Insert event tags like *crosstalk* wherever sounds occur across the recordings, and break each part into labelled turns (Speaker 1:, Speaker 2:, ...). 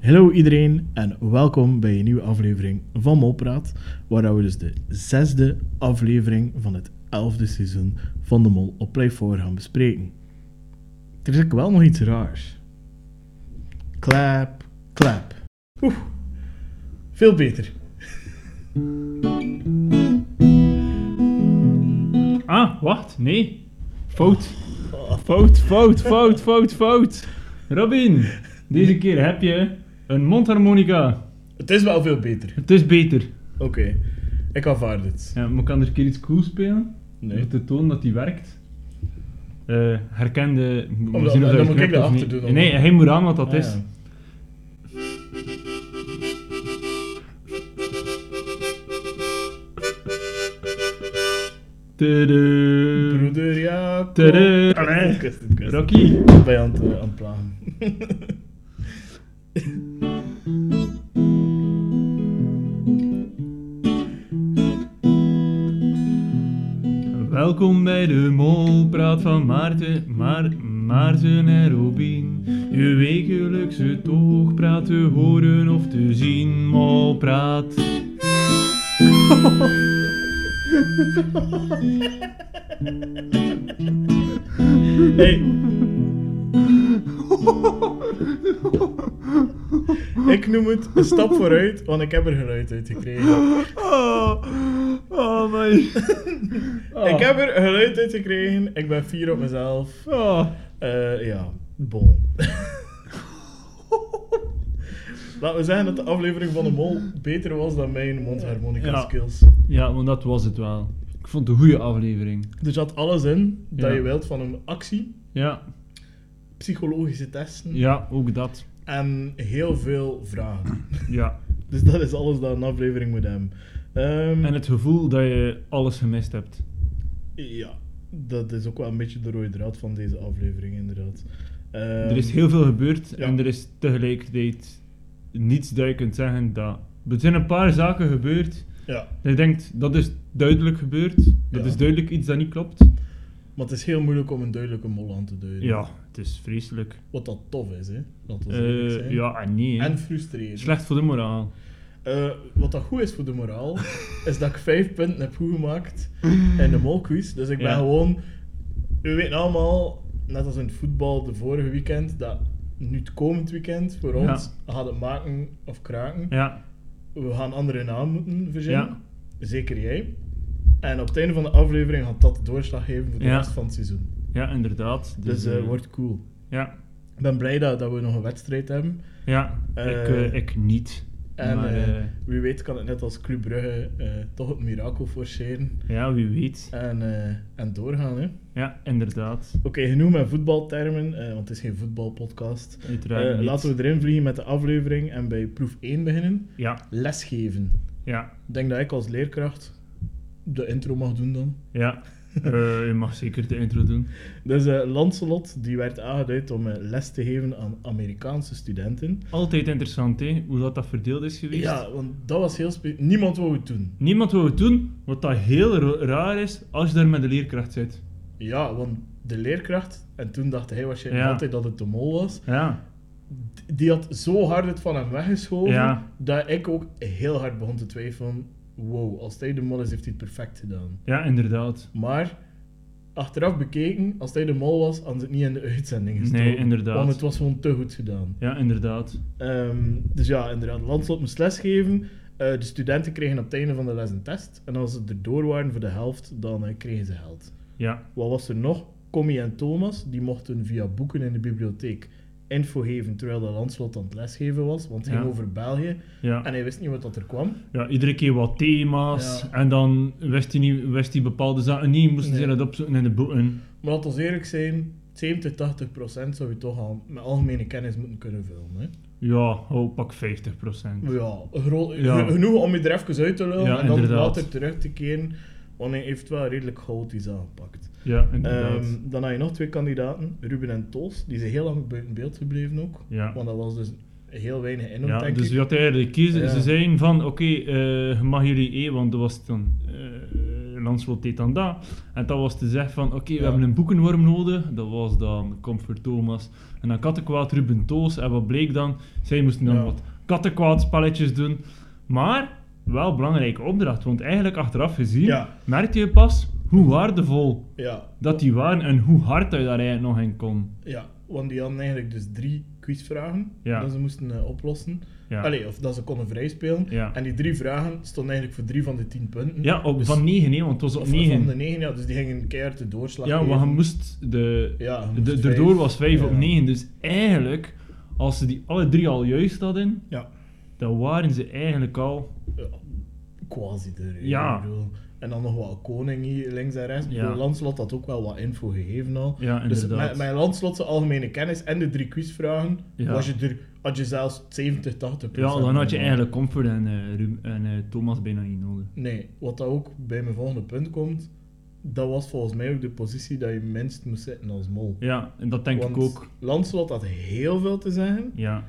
Speaker 1: Hallo iedereen en welkom bij een nieuwe aflevering van Molpraat, waar we dus de zesde aflevering van het elfde seizoen van de Mol op Play 4 gaan bespreken. Er is ook wel nog iets raars. Clap, clap. Oeh, veel beter.
Speaker 2: Ah, wacht, nee. Fout. Fout, fout, fout, fout, fout. Robin, deze keer heb je een mondharmonica.
Speaker 1: Het is wel veel beter.
Speaker 2: Het is beter.
Speaker 1: Oké, ik aanvaard het.
Speaker 2: Ja, maar ik kan er een keer iets cool spelen?
Speaker 1: Nee.
Speaker 2: Om te tonen dat die werkt. Eh, herkende...
Speaker 1: dan-
Speaker 2: we zien of
Speaker 1: dan
Speaker 2: dat
Speaker 1: moet
Speaker 2: je
Speaker 1: ik
Speaker 2: knipt
Speaker 1: dat
Speaker 2: of
Speaker 1: achter
Speaker 2: niet.
Speaker 1: doen, dan-
Speaker 2: Nee, hij moet aan wat dat
Speaker 1: Ah,
Speaker 2: is.
Speaker 1: ja.
Speaker 2: Tudu.
Speaker 1: Broeder Jacob.
Speaker 2: Tudu.
Speaker 1: Allee.
Speaker 2: Allee. Rocky.
Speaker 1: ben je aan het, eh, aan het plagen.
Speaker 2: Welkom bij de Molpraat van Maarten, maar, Maarten en Robin. Je wekelijkse toogpraat te horen of te zien, Molpraat.
Speaker 1: Hey. Ik noem het een stap vooruit, want ik heb er geluid uit gekregen.
Speaker 2: Oh, oh *laughs* my. Ah.
Speaker 1: Ik heb er geluid uit gekregen, ik ben fier op mezelf.
Speaker 2: Oh.
Speaker 1: Eh, ja, bon. Laten we zeggen dat de aflevering van de Mol beter was dan mijn mondharmonica
Speaker 2: Ja.
Speaker 1: skills.
Speaker 2: Ja, want dat was het wel. Ik vond het een goede aflevering.
Speaker 1: Er zat Dus alles in dat
Speaker 2: Ja.
Speaker 1: je wilt van een actie,
Speaker 2: Ja,
Speaker 1: psychologische testen
Speaker 2: ja, ook dat.
Speaker 1: en heel veel vragen.
Speaker 2: Ja.
Speaker 1: Dus dat is alles dat een aflevering moet hebben. Ehm,
Speaker 2: En het gevoel dat je alles gemist hebt.
Speaker 1: Ja, dat is ook wel een beetje de rode draad van deze aflevering, inderdaad. Ehm,
Speaker 2: Er is heel veel gebeurd
Speaker 1: ja.
Speaker 2: en er is tegelijkertijd niets dat je kunt zeggen dat... Er zijn een paar zaken gebeurd
Speaker 1: Ja,
Speaker 2: dat je denkt, dat is duidelijk gebeurd. Dat
Speaker 1: Ja.
Speaker 2: is duidelijk iets dat niet klopt.
Speaker 1: maar het is heel moeilijk om een duidelijke mol aan te duiden.
Speaker 2: Ja, het is vreselijk.
Speaker 1: Wat dat tof is, hè? Dat we
Speaker 2: Eh,
Speaker 1: eerlijk zijn.
Speaker 2: ja en nee. hè.
Speaker 1: En frustrerend.
Speaker 2: Slecht voor de moraal.
Speaker 1: Eh, wat dat goed is voor de
Speaker 2: *laughs*
Speaker 1: moraal, is dat ik vijf punten heb goed gemaakt in de molquiz. Dus ik ben
Speaker 2: Ja.
Speaker 1: gewoon... We weten allemaal, net als in het voetbal de vorige weekend, dat nu het komend weekend voor
Speaker 2: Ja.
Speaker 1: ons gaat het maken of kraken.
Speaker 2: Ja,
Speaker 1: We gaan een andere naam moeten verzinnen.
Speaker 2: ja.
Speaker 1: Zeker jij. En op het einde van de aflevering gaat dat de doorslag geven voor de
Speaker 2: Ja.
Speaker 1: rest van het seizoen.
Speaker 2: ja, inderdaad.
Speaker 1: Dus eh
Speaker 2: eh,
Speaker 1: wordt cool.
Speaker 2: Ja,
Speaker 1: Ik ben blij dat, dat we nog een wedstrijd hebben.
Speaker 2: ja.
Speaker 1: Eh,
Speaker 2: ik, eh, ik niet.
Speaker 1: En
Speaker 2: maar
Speaker 1: eh,
Speaker 2: eh,
Speaker 1: wie weet kan het net als Club Brugge eh, toch het mirakel forceren.
Speaker 2: ja, wie weet.
Speaker 1: En, eh, en doorgaan, hè. Oké,
Speaker 2: Ja, inderdaad.
Speaker 1: genoeg met voetbaltermen, eh, want het is geen voetbalpodcast.
Speaker 2: Uiteraard
Speaker 1: Eh,
Speaker 2: niet.
Speaker 1: laten we erin vliegen met de aflevering en bij proef 1 beginnen.
Speaker 2: Ja,
Speaker 1: Lesgeven.
Speaker 2: ja,
Speaker 1: Ik denk dat ik als leerkracht de intro mag doen dan. *laughs*
Speaker 2: ja. Eh, je mag zeker de intro doen.
Speaker 1: Dus eh, Lancelot die werd aangeduid om eh, les te geven aan Amerikaanse studenten.
Speaker 2: Altijd interessant, hè? Hoe dat, dat verdeeld is geweest.
Speaker 1: Ja, want dat was heel spe- Niemand wou het doen.
Speaker 2: Niemand wil het doen, wat dat heel ra- raar is als je daar met de leerkracht zit.
Speaker 1: Ja, want de leerkracht, en toen dacht hij waarschijnlijk
Speaker 2: Ja.
Speaker 1: altijd dat het de mol was,
Speaker 2: Ja,
Speaker 1: d- die had zo hard het van hem weggeschoven,
Speaker 2: Ja.
Speaker 1: dat ik ook heel hard begon te twijfelen. Wow, als hij de mol is, heeft hij het perfect gedaan.
Speaker 2: ja inderdaad.
Speaker 1: Maar, achteraf bekeken, als hij de mol was, hadden ze het niet in de uitzending gestoken.
Speaker 2: Nee, inderdaad.
Speaker 1: Want het was gewoon te goed gedaan.
Speaker 2: Ja, inderdaad.
Speaker 1: Ehm, dus ja, inderdaad, Landslot moest lesgeven. Eh, de studenten kregen op het einde van de les een test. En als ze erdoor waren voor de helft, dan eh, kregen ze geld.
Speaker 2: Ja,
Speaker 1: Wat was er nog? Commie en Thomas, die mochten via boeken in de bibliotheek info geven terwijl de Landslot aan het lesgeven was. Want het ging
Speaker 2: Ja.
Speaker 1: over België. En
Speaker 2: ja.
Speaker 1: hij wist niet wat dat er kwam.
Speaker 2: ja iedere keer wat thema's.
Speaker 1: Ja.
Speaker 2: En dan wist hij, niet, wist hij bepaalde zaken niet, moesten
Speaker 1: Nee.
Speaker 2: ze dat opzoeken in de boeken.
Speaker 1: Maar laten we eerlijk zijn, 70, 80 procent zou je toch al met algemene kennis moeten kunnen vullen. Hè?
Speaker 2: Ja, hou pak 50 procent.
Speaker 1: Ja, gro-
Speaker 2: Ja.
Speaker 1: ge- genoeg om je er even uit te lullen
Speaker 2: Ja,
Speaker 1: en dan
Speaker 2: inderdaad.
Speaker 1: later terug te keren. Want hij heeft wel redelijk chaotisch aangepakt.
Speaker 2: Ja, inderdaad.
Speaker 1: Ehm, dan had je nog twee kandidaten, Ruben en Toos. Die zijn heel lang buiten beeld gebleven ook.
Speaker 2: Ja.
Speaker 1: Want dat was dus heel weinig in,
Speaker 2: ja,
Speaker 1: denk
Speaker 2: dus
Speaker 1: ik.
Speaker 2: je had eigenlijk kiezen.
Speaker 1: Ja.
Speaker 2: Ze zeiden van, oké, eh, je mag jullie E, want dat was het dan eh Lanslot deed dan dat. En dat was te zeggen van, oké, we hebben een boekenworm nodig. Dat was dan Comfort Thomas. En dan kattenkwaad Ruben Toos. En wat bleek dan? Zij moesten dan
Speaker 1: Ja.
Speaker 2: wat kattenkwaad spelletjes doen. Maar, wel belangrijke opdracht. Want eigenlijk achteraf gezien,
Speaker 1: Ja.
Speaker 2: merkte je pas hoe waardevol
Speaker 1: Ja,
Speaker 2: dat die waren en hoe hard dat je daar eigenlijk nog in kon.
Speaker 1: ja, want die hadden eigenlijk dus drie quizvragen
Speaker 2: Ja.
Speaker 1: dat ze moesten eh, oplossen.
Speaker 2: Ja.
Speaker 1: Allee, of dat ze konden vrijspelen.
Speaker 2: Ja.
Speaker 1: En die drie vragen stonden eigenlijk voor drie van de tien punten.
Speaker 2: Ja, op,
Speaker 1: Dus-
Speaker 2: van 9, hè, want het was op
Speaker 1: Of van
Speaker 2: 9.
Speaker 1: de negen, ja, dus die gingen keihard de doorslag
Speaker 2: Ja, want
Speaker 1: geven.
Speaker 2: je moest de...
Speaker 1: Ja, je
Speaker 2: de-
Speaker 1: moest
Speaker 2: Daardoor
Speaker 1: vijf.
Speaker 2: was 5 op
Speaker 1: Ja.
Speaker 2: 9. Dus eigenlijk, als ze die alle drie al juist hadden,
Speaker 1: Ja,
Speaker 2: dan waren ze eigenlijk al...
Speaker 1: ja, quasi de reden,
Speaker 2: Ja.
Speaker 1: ik bedoel. En dan nog wat koning hier links en rechts.
Speaker 2: Ja.
Speaker 1: Ja. Landslot had ook wel wat info gegeven al.
Speaker 2: Ja,
Speaker 1: dus
Speaker 2: inderdaad.
Speaker 1: met, met Landslot zijn algemene kennis en de drie quizvragen
Speaker 2: Ja.
Speaker 1: was je er, had je zelfs 70, 80
Speaker 2: Ja, dan had je eigenlijk Comfort en, eh, Ruben- en eh, Thomas bijna niet nodig.
Speaker 1: Nee, wat dat ook bij mijn volgende punt komt, dat was volgens mij ook de positie dat je minst moest zitten als mol.
Speaker 2: Ja, en dat denk ik
Speaker 1: Want
Speaker 2: ook.
Speaker 1: Landslot had heel veel te zeggen.
Speaker 2: Ja,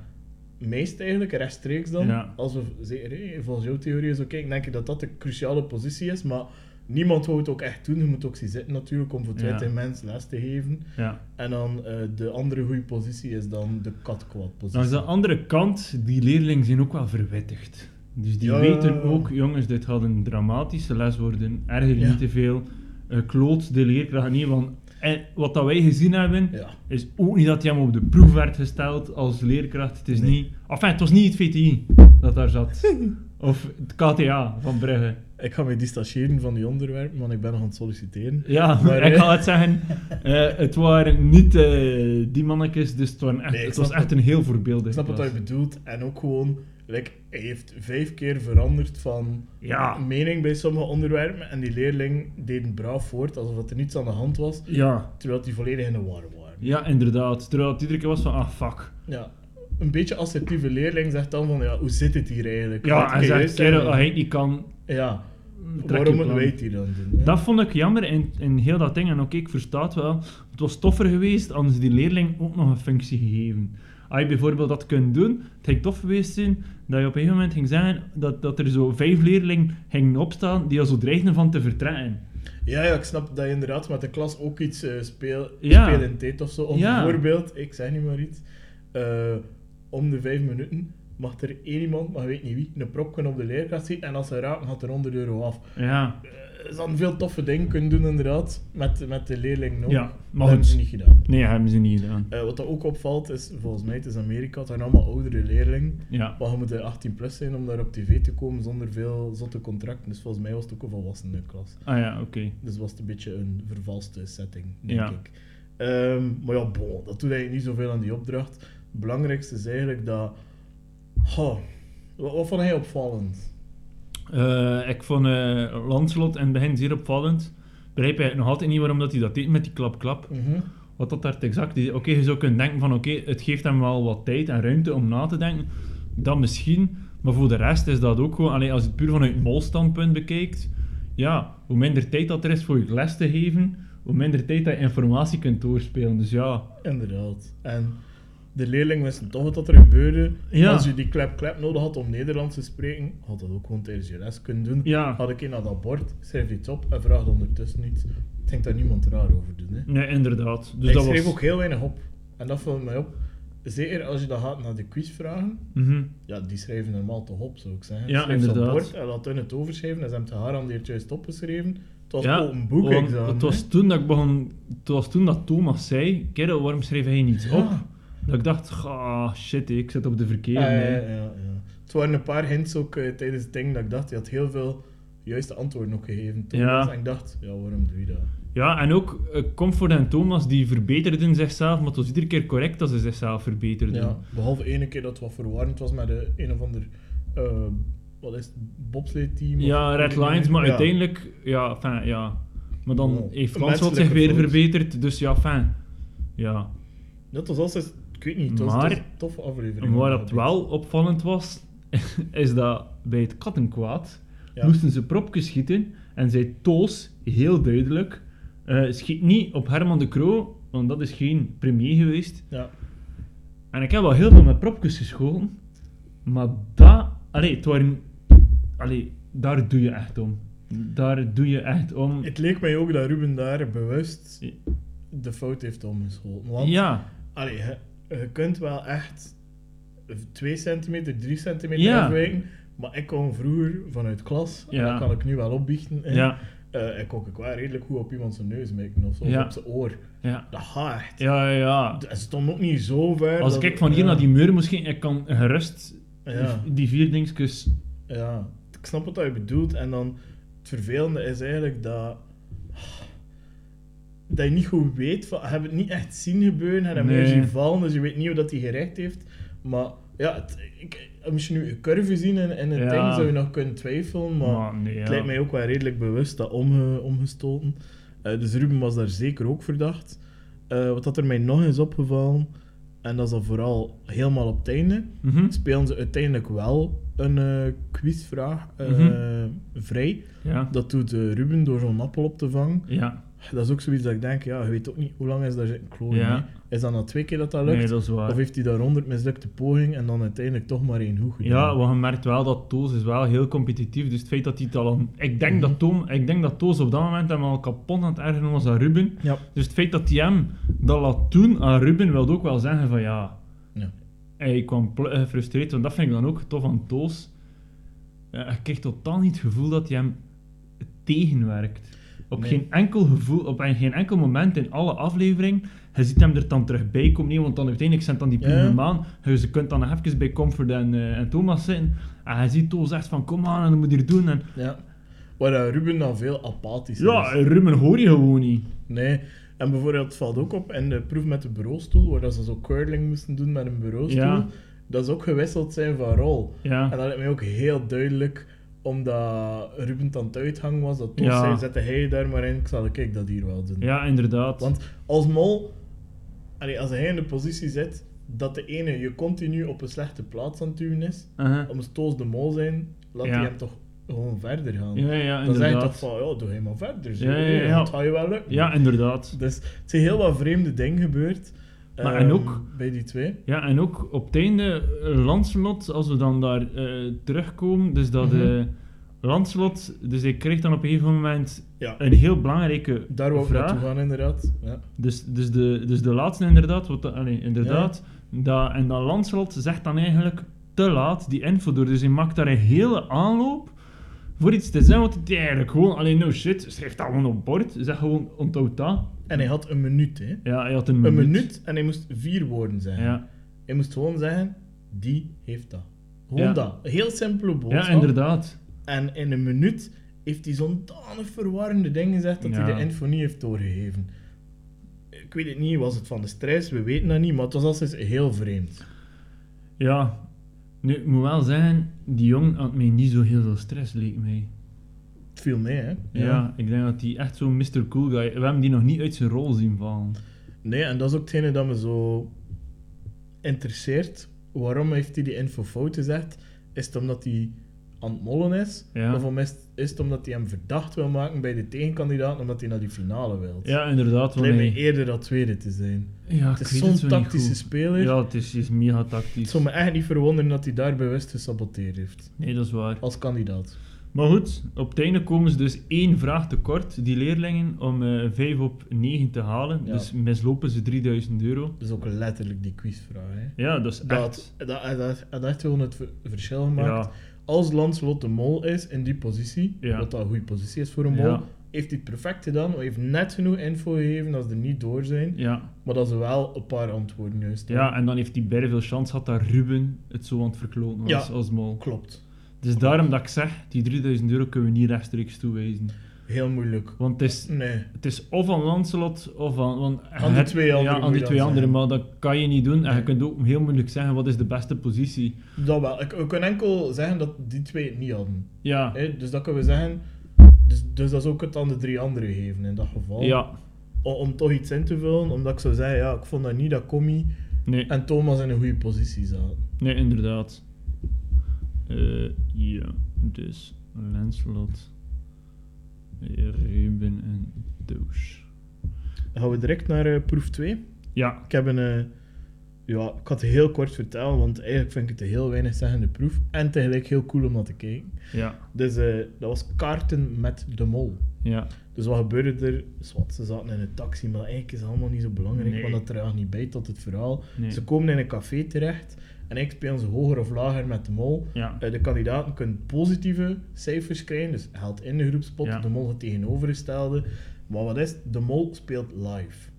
Speaker 1: meest eigenlijk rechtstreeks dan.
Speaker 2: Ja.
Speaker 1: Als we zeker, hé, volgens jouw theorie zo kijken, denk ik dat dat de cruciale positie is. Maar niemand wou het ook echt doen. Je moet ook zien zitten natuurlijk om voor
Speaker 2: Ja.
Speaker 1: 20 mensen les te geven.
Speaker 2: ja.
Speaker 1: En dan eh, de andere goede positie is dan de katkwad positie.
Speaker 2: Dan is de andere kant, die leerlingen zijn ook wel verwittigd. Dus die
Speaker 1: Ja.
Speaker 2: weten ook, jongens, dit gaat een dramatische les worden. Erger
Speaker 1: Ja.
Speaker 2: niet te veel. Eh, kloot de leerkracht niet, want eh, wat dat wij gezien hebben,
Speaker 1: Ja.
Speaker 2: is ook niet dat hij hem op de proef werd gesteld als leerkracht. Het is
Speaker 1: Nee.
Speaker 2: niet... Enfin, het was niet het VTI dat daar
Speaker 1: *laughs*
Speaker 2: zat. of het KTA van Brugge.
Speaker 1: Ik ga me distancieren van die onderwerpen, want ik ben nog aan het solliciteren.
Speaker 2: Ja,
Speaker 1: Maar,
Speaker 2: *laughs* ik
Speaker 1: eh,
Speaker 2: ga het
Speaker 1: *laughs*
Speaker 2: zeggen. eh, het waren niet eh, die mannetjes, dus het, waren echt,
Speaker 1: Nee, ik
Speaker 2: het was
Speaker 1: snap
Speaker 2: echt een heel voorbeeldig
Speaker 1: Ik snap wat
Speaker 2: klas.
Speaker 1: je bedoelt. En ook gewoon, like, hij heeft vijf keer veranderd van
Speaker 2: Ja.
Speaker 1: mening bij sommige onderwerpen. En die leerling deed het braaf voort, alsof dat er niets aan de hand was.
Speaker 2: Ja.
Speaker 1: Terwijl die volledig in de war waren.
Speaker 2: Ja, inderdaad. Terwijl het iedere keer was van, ah, fuck.
Speaker 1: Ja. Een beetje assertieve leerling zegt dan van, ja, hoe zit het hier eigenlijk? Wat
Speaker 2: Ja, en
Speaker 1: kun jij
Speaker 2: zegt, kerel,
Speaker 1: zeggen?
Speaker 2: als hij het niet kan,
Speaker 1: Ja,
Speaker 2: trek je
Speaker 1: waarom moeten
Speaker 2: plan.
Speaker 1: wij het hier dan doen? hè?
Speaker 2: Dat vond ik jammer in, in heel dat ding. En oké, ik versta het wel. Het was toffer geweest, anders die leerling ook nog een functie gegeven. Als je bijvoorbeeld dat kunt doen, het ging tof geweest zijn dat je op een gegeven moment ging zeggen dat, dat er zo vijf leerlingen gingen opstaan die al zo dreigden van te vertrekken.
Speaker 1: Ja, ja, ik snap dat je inderdaad met de klas ook iets eh speel,
Speaker 2: Ja.
Speaker 1: speel in tijd of zo. Of
Speaker 2: Ja.
Speaker 1: bijvoorbeeld, ik zeg niet maar iets, eh, om de vijf minuten mag er één iemand, maar ik weet niet wie, een propje op de leerkracht zien en als ze raken gaat er 100 euro af.
Speaker 2: Ja,
Speaker 1: Eh, Dat is dan veel toffe dingen kunnen doen inderdaad, met, met de leerling nog.
Speaker 2: Ja,
Speaker 1: Dat
Speaker 2: maar
Speaker 1: hebben
Speaker 2: goed.
Speaker 1: ze niet gedaan.
Speaker 2: nee, hebben ze niet gedaan.
Speaker 1: Eh, wat dat ook opvalt is, volgens mij, het is Amerika, het zijn allemaal oudere leerlingen.
Speaker 2: Ja,
Speaker 1: Maar je moet er 18 plus zijn om daar op tv te komen zonder veel zotte contracten. Dus volgens mij was het ook een volwassene klas.
Speaker 2: ah ja, oké.
Speaker 1: Dus was het een beetje een vervalste setting, denk
Speaker 2: Ja.
Speaker 1: ik. Ehm, maar ja, bon, dat doet eigenlijk niet zoveel aan die opdracht. Het belangrijkste is eigenlijk dat... Goh, wat, wat vond hij opvallend?
Speaker 2: Eh, ik vond eh Lanslot in het begin zeer opvallend. Begrijp je nog altijd niet waarom dat hij dat deed met die klap-klap.
Speaker 1: Mhm.
Speaker 2: Wat dat daar het exact is. Oké, je zou kunnen denken van oké, het geeft hem wel wat tijd en ruimte om na te denken. Dat misschien. Maar voor de rest is dat ook gewoon, allee, als je het puur vanuit molstandpunt bekijkt, ja, hoe minder tijd dat er is voor je les te geven, hoe minder tijd dat je informatie kunt doorspelen. Dus ja,
Speaker 1: Inderdaad. En de leerlingen wisten toch wat er gebeurde.
Speaker 2: Ja.
Speaker 1: Als je die klep-klep nodig had om Nederlands te spreken, had dat ook gewoon tijdens je les kunnen doen.
Speaker 2: Ja.
Speaker 1: Had ik in naar dat bord, schrijf iets op en vraag ondertussen iets. Ik denk daar niemand raar over doen. Hè.
Speaker 2: nee, inderdaad. Dus
Speaker 1: ik
Speaker 2: dat
Speaker 1: schreef
Speaker 2: was...
Speaker 1: ook heel weinig op. En dat viel mij op. Zeker als je dan gaat naar de quizvragen,
Speaker 2: Mhm.
Speaker 1: ja, die schrijven normaal toch op, zou ik zeggen.
Speaker 2: Ja,
Speaker 1: Schrijf ze op
Speaker 2: inderdaad.
Speaker 1: bord en laat hun het overschrijven en ze hebben het gegarandeerd juist opgeschreven. Het was
Speaker 2: Ja,
Speaker 1: open boek
Speaker 2: want
Speaker 1: examen,
Speaker 2: Het
Speaker 1: hè.
Speaker 2: was toen dat ik begon... Het was toen dat Thomas zei, kerel, waarom schreef hij niets
Speaker 1: Ja.
Speaker 2: op? Dat ik dacht, ah, shit, ik zit op de verkeerde.
Speaker 1: Ah, Ja, ja,
Speaker 2: hè.
Speaker 1: ja, ja. Het waren een paar hints ook eh, tijdens het ding dat ik dacht, je had heel veel juiste antwoorden ook gegeven. Thomas,
Speaker 2: Ja.
Speaker 1: En ik dacht, ja, waarom doe je dat?
Speaker 2: Ja, en ook eh, Comfort en Thomas die verbeterden zichzelf, maar het was iedere keer correct dat ze zichzelf verbeterden.
Speaker 1: Ja, behalve ene keer dat het wat verwarrend was met de een of ander, eh, wat is het, bobsleedteam? of-
Speaker 2: Ja, Red Lions, maar
Speaker 1: Ja.
Speaker 2: uiteindelijk, ja, enfin, ja. Maar dan
Speaker 1: Wow.
Speaker 2: heeft
Speaker 1: Een
Speaker 2: Frans zich
Speaker 1: menselijke
Speaker 2: weer
Speaker 1: fout.
Speaker 2: verbeterd, dus ja, fijn. Ja.
Speaker 1: Dat was altijd, ik weet niet, het was,
Speaker 2: Maar-
Speaker 1: het was een toffe aflevering.
Speaker 2: En waar dat wel opvallend was, *laughs* is dat bij het kattenkwaad
Speaker 1: Ja.
Speaker 2: moesten ze propjes schieten en zei Toos heel duidelijk: eh, schiet niet op Herman de Croo, want dat is geen premier geweest.
Speaker 1: Ja,
Speaker 2: En ik heb wel heel veel met propjes geschoten. Maar dat... Allee, het waren... Allee, daar doe je echt om. Daar doe je echt om.
Speaker 1: Het leek mij ook dat Ruben daar bewust de fout heeft omgeschoten. Want
Speaker 2: Ja,
Speaker 1: allee, je, je kunt wel echt 2 centimeter, 3 centimeter
Speaker 2: Ja.
Speaker 1: afwijken. Maar ik kon vroeger vanuit klas, en
Speaker 2: Ja.
Speaker 1: dat kan ik nu wel opbiechten. En,
Speaker 2: ja,
Speaker 1: eh, ik kon ook wel redelijk goed op iemand zijn neus mikken of zo, of
Speaker 2: Ja.
Speaker 1: op zijn oor.
Speaker 2: ja,
Speaker 1: Dat gaat echt.
Speaker 2: ja, ja.
Speaker 1: Het stond ook niet zo ver.
Speaker 2: Als
Speaker 1: dat-
Speaker 2: ik van hier
Speaker 1: ja.
Speaker 2: naar die muur misschien, ik kan gerust
Speaker 1: Ja.
Speaker 2: die, die vier dingetjes.
Speaker 1: Ja, ik snap wat je bedoelt. En dan het vervelende is eigenlijk dat. Dat je niet goed weet, van, je hebt het niet echt zien gebeuren, je hebt hem
Speaker 2: Nee.
Speaker 1: meer zien vallen, dus je weet niet hoe dat hij gerecht heeft. Maar ja, het, ik, moest je nu een curve zien in, in het
Speaker 2: Ja.
Speaker 1: ding, zou je nog kunnen twijfelen, maar
Speaker 2: Maar nee,
Speaker 1: het
Speaker 2: ja.
Speaker 1: lijkt mij ook wel redelijk bewust dat omge, omgestoten. Eh, dus Ruben was daar zeker ook verdacht. Eh, wat dat er mij nog is opgevallen, en dat is dan vooral helemaal op het einde,
Speaker 2: Mhm,
Speaker 1: spelen ze uiteindelijk wel een eh, quizvraag eh,
Speaker 2: Mhm.
Speaker 1: vrij.
Speaker 2: ja.
Speaker 1: Dat doet eh, Ruben door zo'n appel op te vangen.
Speaker 2: Ja,
Speaker 1: Dat is ook zoiets dat ik denk, ja, je weet ook niet hoe lang is daar zitten klonen.
Speaker 2: Ja.
Speaker 1: hè. Is dat na twee keer dat dat lukt?
Speaker 2: nee, dat is
Speaker 1: Of
Speaker 2: waar.
Speaker 1: heeft hij daar honderd mislukte poging en dan uiteindelijk toch maar één goed
Speaker 2: Ja,
Speaker 1: gedaan?
Speaker 2: want je merkt wel dat Toos is wel heel competitief. Dus het feit dat hij het al... aan- Ik denk,
Speaker 1: Mhm.
Speaker 2: dat, Toon, ik denk dat Toos op dat moment hem al kapot aan het ergeren was aan Ruben.
Speaker 1: Ja.
Speaker 2: Dus het feit dat hij hem dat laat doen aan Ruben, wil ook wel zeggen van ja.
Speaker 1: Ja.
Speaker 2: Hij kwam pl- eh, gefrustreerd, want dat vind ik dan ook tof aan Toos. Eh, Ik kreeg totaal niet het gevoel dat hij hem tegenwerkt. Op,
Speaker 1: Nee.
Speaker 2: geen enkel gevoel, op een- geen enkel moment in alle aflevering. Je ziet hem er dan terug bij komen, nee, want dan uiteindelijk zijn dan die
Speaker 1: Ja.
Speaker 2: prima maan. Dus je kunt dan nog even bij Comfort en, eh, en Thomas zitten. En hij ziet Toos echt van kom aan, en dat moet hier doen. En,
Speaker 1: Ja. Waar eh, Ruben dan veel apathisch
Speaker 2: ja, eh.
Speaker 1: is.
Speaker 2: Ruben hoor je gewoon niet.
Speaker 1: Nee. En bijvoorbeeld, het valt ook op in de proef met de bureaustoel, waar dat ze zo curling moesten doen met een bureaustoel.
Speaker 2: Ja.
Speaker 1: Dat ze ook gewisseld zijn van rol.
Speaker 2: Ja.
Speaker 1: En dat lijkt mij ook heel duidelijk, omdat Ruben aan het uithang was, dat Toos
Speaker 2: Ja.
Speaker 1: zei, zette hij daar maar in, ik zal kijk dat hier wel doen.
Speaker 2: ja, inderdaad.
Speaker 1: Want als mol, allee, als hij in de positie zit, dat de ene je continu op een slechte plaats aan het duwen is,
Speaker 2: Uh-huh.
Speaker 1: om Toos de mol zijn, laat
Speaker 2: Ja.
Speaker 1: hij hem toch gewoon verder gaan.
Speaker 2: Ja, ja,
Speaker 1: Dan zeg je toch
Speaker 2: inderdaad.
Speaker 1: van, ja, doe helemaal verder. Zo.
Speaker 2: Ja, ja,
Speaker 1: Nee,
Speaker 2: ja.
Speaker 1: Dat gaat je wel lukken.
Speaker 2: Ja, inderdaad.
Speaker 1: Dus het zijn heel wat vreemde dingen gebeurd.
Speaker 2: Maar
Speaker 1: ehm,
Speaker 2: en ook-
Speaker 1: Bij die twee.
Speaker 2: Ja, en ook op het einde, eh, Lancelot, als we dan daar eh, terugkomen, dus dat eh
Speaker 1: Mhm.
Speaker 2: Lancelot, dus hij kreeg dan op een gegeven moment
Speaker 1: Ja,
Speaker 2: een heel belangrijke
Speaker 1: daar wou ik naartoe
Speaker 2: vraag.
Speaker 1: gaan inderdaad. Ja.
Speaker 2: Dus, dus, de, dus de laatste inderdaad, wat, dat- allee, inderdaad dat, en dan Lancelot zegt dan eigenlijk te laat die info door, dus hij maakt daar een hele aanloop voor iets te zeggen, want hij eigenlijk gewoon, alleen no shit, schrijf dat gewoon op bord, zeg gewoon onthoud dat.
Speaker 1: En hij had een minuut, hè.
Speaker 2: Ja, hij had een minuut.
Speaker 1: Een minuut en hij moest vier woorden zeggen.
Speaker 2: Ja,
Speaker 1: Hij moest gewoon zeggen, die heeft dat. Gewoon
Speaker 2: Ja.
Speaker 1: dat. Een heel simpele boodschap.
Speaker 2: ja inderdaad.
Speaker 1: En in een minuut heeft hij zo'n danig verwarrende dingen gezegd dat hij
Speaker 2: Ja.
Speaker 1: de info niet heeft doorgegeven. Ik weet het niet, was het van de stress? We weten dat niet, maar het was altijd heel vreemd.
Speaker 2: Ja, nu, ik moet wel zeggen, die jongen had mij niet zo heel veel stress, leek mij.
Speaker 1: Het viel mee, hè?
Speaker 2: Ja, ik denk dat die echt zo'n Mr. Cool Guy... We hebben die nog niet uit zijn rol zien vallen.
Speaker 1: Nee, en dat is ook hetgene dat me zo interesseert. Waarom heeft hij die info fout gezegd? Is het omdat hij aan het mollen is?
Speaker 2: Ja.
Speaker 1: Of om is, is het omdat hij hem verdacht wil maken bij de tegenkandidaat, omdat hij naar die finale wil?
Speaker 2: Ja, inderdaad.
Speaker 1: het
Speaker 2: Want
Speaker 1: lijkt me
Speaker 2: hij,
Speaker 1: eerder dat tweede te zijn.
Speaker 2: ja,
Speaker 1: Het
Speaker 2: ik
Speaker 1: is
Speaker 2: weet het
Speaker 1: zo'n
Speaker 2: zo
Speaker 1: tactische
Speaker 2: niet goed.
Speaker 1: speler.
Speaker 2: Ja, het is, het is mega tactisch.
Speaker 1: Het zou me echt niet verwonderen dat hij daar bewust gesaboteerd heeft.
Speaker 2: Nee, dat is waar.
Speaker 1: Als kandidaat.
Speaker 2: Maar goed, op het einde komen ze dus één vraag tekort, die leerlingen, om eh 5 op 9 te halen.
Speaker 1: Ja.
Speaker 2: Dus mislopen ze 3000 euro.
Speaker 1: Dat is ook letterlijk die quizvraag. Hè.
Speaker 2: Ja, dat is
Speaker 1: Dat,
Speaker 2: echt...
Speaker 1: dat, dat, dat heeft gewoon het ver- verschil gemaakt.
Speaker 2: Ja,
Speaker 1: Als Lancelot de Mol is in die positie,
Speaker 2: Ja.
Speaker 1: wat dat een goede positie is voor een mol,
Speaker 2: Ja.
Speaker 1: heeft hij het perfect gedaan. Hij heeft net genoeg info gegeven dat ze er niet door zijn,
Speaker 2: ja.
Speaker 1: maar dat ze wel een paar antwoorden juist hebben.
Speaker 2: Ja, en dan heeft hij bij veel chance gehad dat Ruben het zo aan het verkloten was
Speaker 1: Ja.
Speaker 2: als mol.
Speaker 1: Klopt.
Speaker 2: Dus daarom dat ik zeg, die 3000 euro kunnen we niet rechtstreeks toewijzen.
Speaker 1: Heel moeilijk.
Speaker 2: Want het is,
Speaker 1: Nee.
Speaker 2: het is of aan Lancelot, of aan... Want
Speaker 1: Aan die
Speaker 2: het-
Speaker 1: twee anderen
Speaker 2: Ja,
Speaker 1: moet
Speaker 2: aan
Speaker 1: je
Speaker 2: die
Speaker 1: dat
Speaker 2: twee anderen,
Speaker 1: zeggen.
Speaker 2: maar dat kan je niet doen. En
Speaker 1: Nee.
Speaker 2: je kunt ook heel moeilijk zeggen, wat is de beste positie?
Speaker 1: Dat wel. Ik, we kunnen enkel zeggen dat die twee het niet hadden.
Speaker 2: Ja,
Speaker 1: Hè, dus dat kunnen we zeggen. Dus, dus dat is ook het aan de drie anderen geven in dat geval.
Speaker 2: ja,
Speaker 1: O- Om, toch iets in te vullen, omdat ik zou zeggen, ja, ik vond dat niet dat Commie
Speaker 2: nee,
Speaker 1: en Thomas in een goede positie zaten.
Speaker 2: nee, inderdaad. Eh, ja, dus Lancelot, Ruben en Doos.
Speaker 1: Dan gaan we direct naar eh, proef 2.
Speaker 2: Ja,
Speaker 1: Ik heb een, eh, Ja, ik ga het heel kort vertellen, want eigenlijk vind ik het een heel weinig zeggende proef. En tegelijk heel cool om naar te kijken.
Speaker 2: Ja,
Speaker 1: Dus eh, dat was kaarten met de mol.
Speaker 2: ja.
Speaker 1: Dus wat gebeurde er? Zwat, ze zaten in een taxi, maar eigenlijk is het allemaal niet zo belangrijk,
Speaker 2: Nee.
Speaker 1: want dat draagt niet bij tot het verhaal.
Speaker 2: Nee.
Speaker 1: Ze komen in een café terecht en ik speel ze hoger of lager met de mol.
Speaker 2: Ja.
Speaker 1: Eh, de kandidaten kunnen positieve cijfers krijgen, dus haalt in de groepspot,
Speaker 2: Ja.
Speaker 1: de mol het tegenovergestelde. Maar wat is het? De mol speelt live.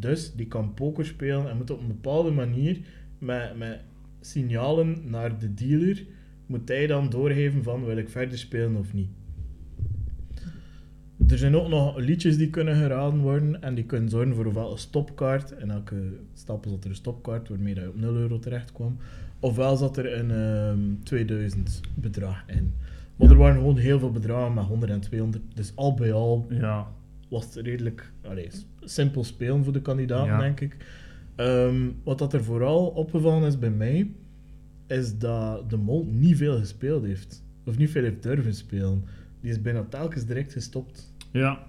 Speaker 1: Dus die kan poker spelen en moet op een bepaalde manier met, met signalen naar de dealer, moet hij dan doorgeven van wil ik verder spelen of niet. Er zijn ook nog liedjes die kunnen geraden worden en die kunnen zorgen voor ofwel een stopkaart. In elke stapel zat er een stopkaart waarmee je op 0 euro terecht kwam. Ofwel zat er een ehm, 2000 bedrag in. Maar
Speaker 2: Ja.
Speaker 1: er waren gewoon heel veel bedragen met 100 en 200. Dus al bij al
Speaker 2: Ja,
Speaker 1: was het redelijk allee, s- simpel spelen voor de kandidaten,
Speaker 2: Ja.
Speaker 1: denk ik. Ehm, wat dat er vooral opgevallen is bij mij, is dat de mol niet veel gespeeld heeft. Of niet veel heeft durven spelen. Die is bijna telkens direct gestopt.
Speaker 2: ja.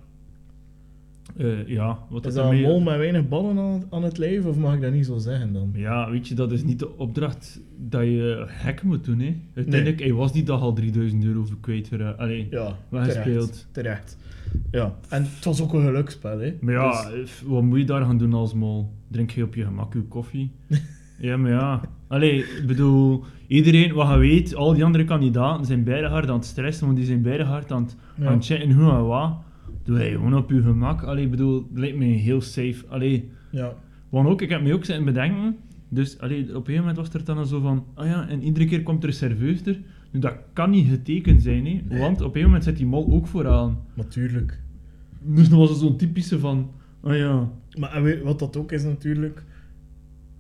Speaker 2: Eh, ja, wat
Speaker 1: Is
Speaker 2: is
Speaker 1: dat een
Speaker 2: daarmee-
Speaker 1: mol met weinig ballen aan, aan het leven, of mag ik dat niet zo zeggen dan?
Speaker 2: Ja, weet je, dat is niet de opdracht dat je hack moet doen, hè. Uiteindelijk, hij was die dag al 3000 euro voor kwijtgeraakt. eh, Allee,
Speaker 1: Ja,
Speaker 2: Wel gespeeld.
Speaker 1: Terecht. Ja, en het was ook een geluksspel, hè.
Speaker 2: maar ja,
Speaker 1: Dus-
Speaker 2: f- wat moet je daar gaan doen als mol? Drink je op je gemak je
Speaker 1: *laughs*
Speaker 2: koffie? ja, maar ja. Allee, ik bedoel, iedereen, wat je weet, al die andere kandidaten zijn beide hard aan het stressen, want die zijn beide hard aan het,
Speaker 1: Ja.
Speaker 2: aan het chatten hoe en wat. Doe hij gewoon op je gemak. Allee, ik bedoel, het lijkt mij heel safe. Allee,
Speaker 1: ja.
Speaker 2: Want ook, ik heb me ook zitten bedenken. Dus allee, op een gegeven moment was er dan zo van, ah ja, en iedere keer komt er een serveuster. Nu, dat kan niet getekend zijn, hè,
Speaker 1: Nee.
Speaker 2: want op een gegeven moment zit die mol ook vooraan.
Speaker 1: natuurlijk.
Speaker 2: Dus dan was het zo'n typische van, ah ja,
Speaker 1: Maar en weet- wat dat ook is natuurlijk,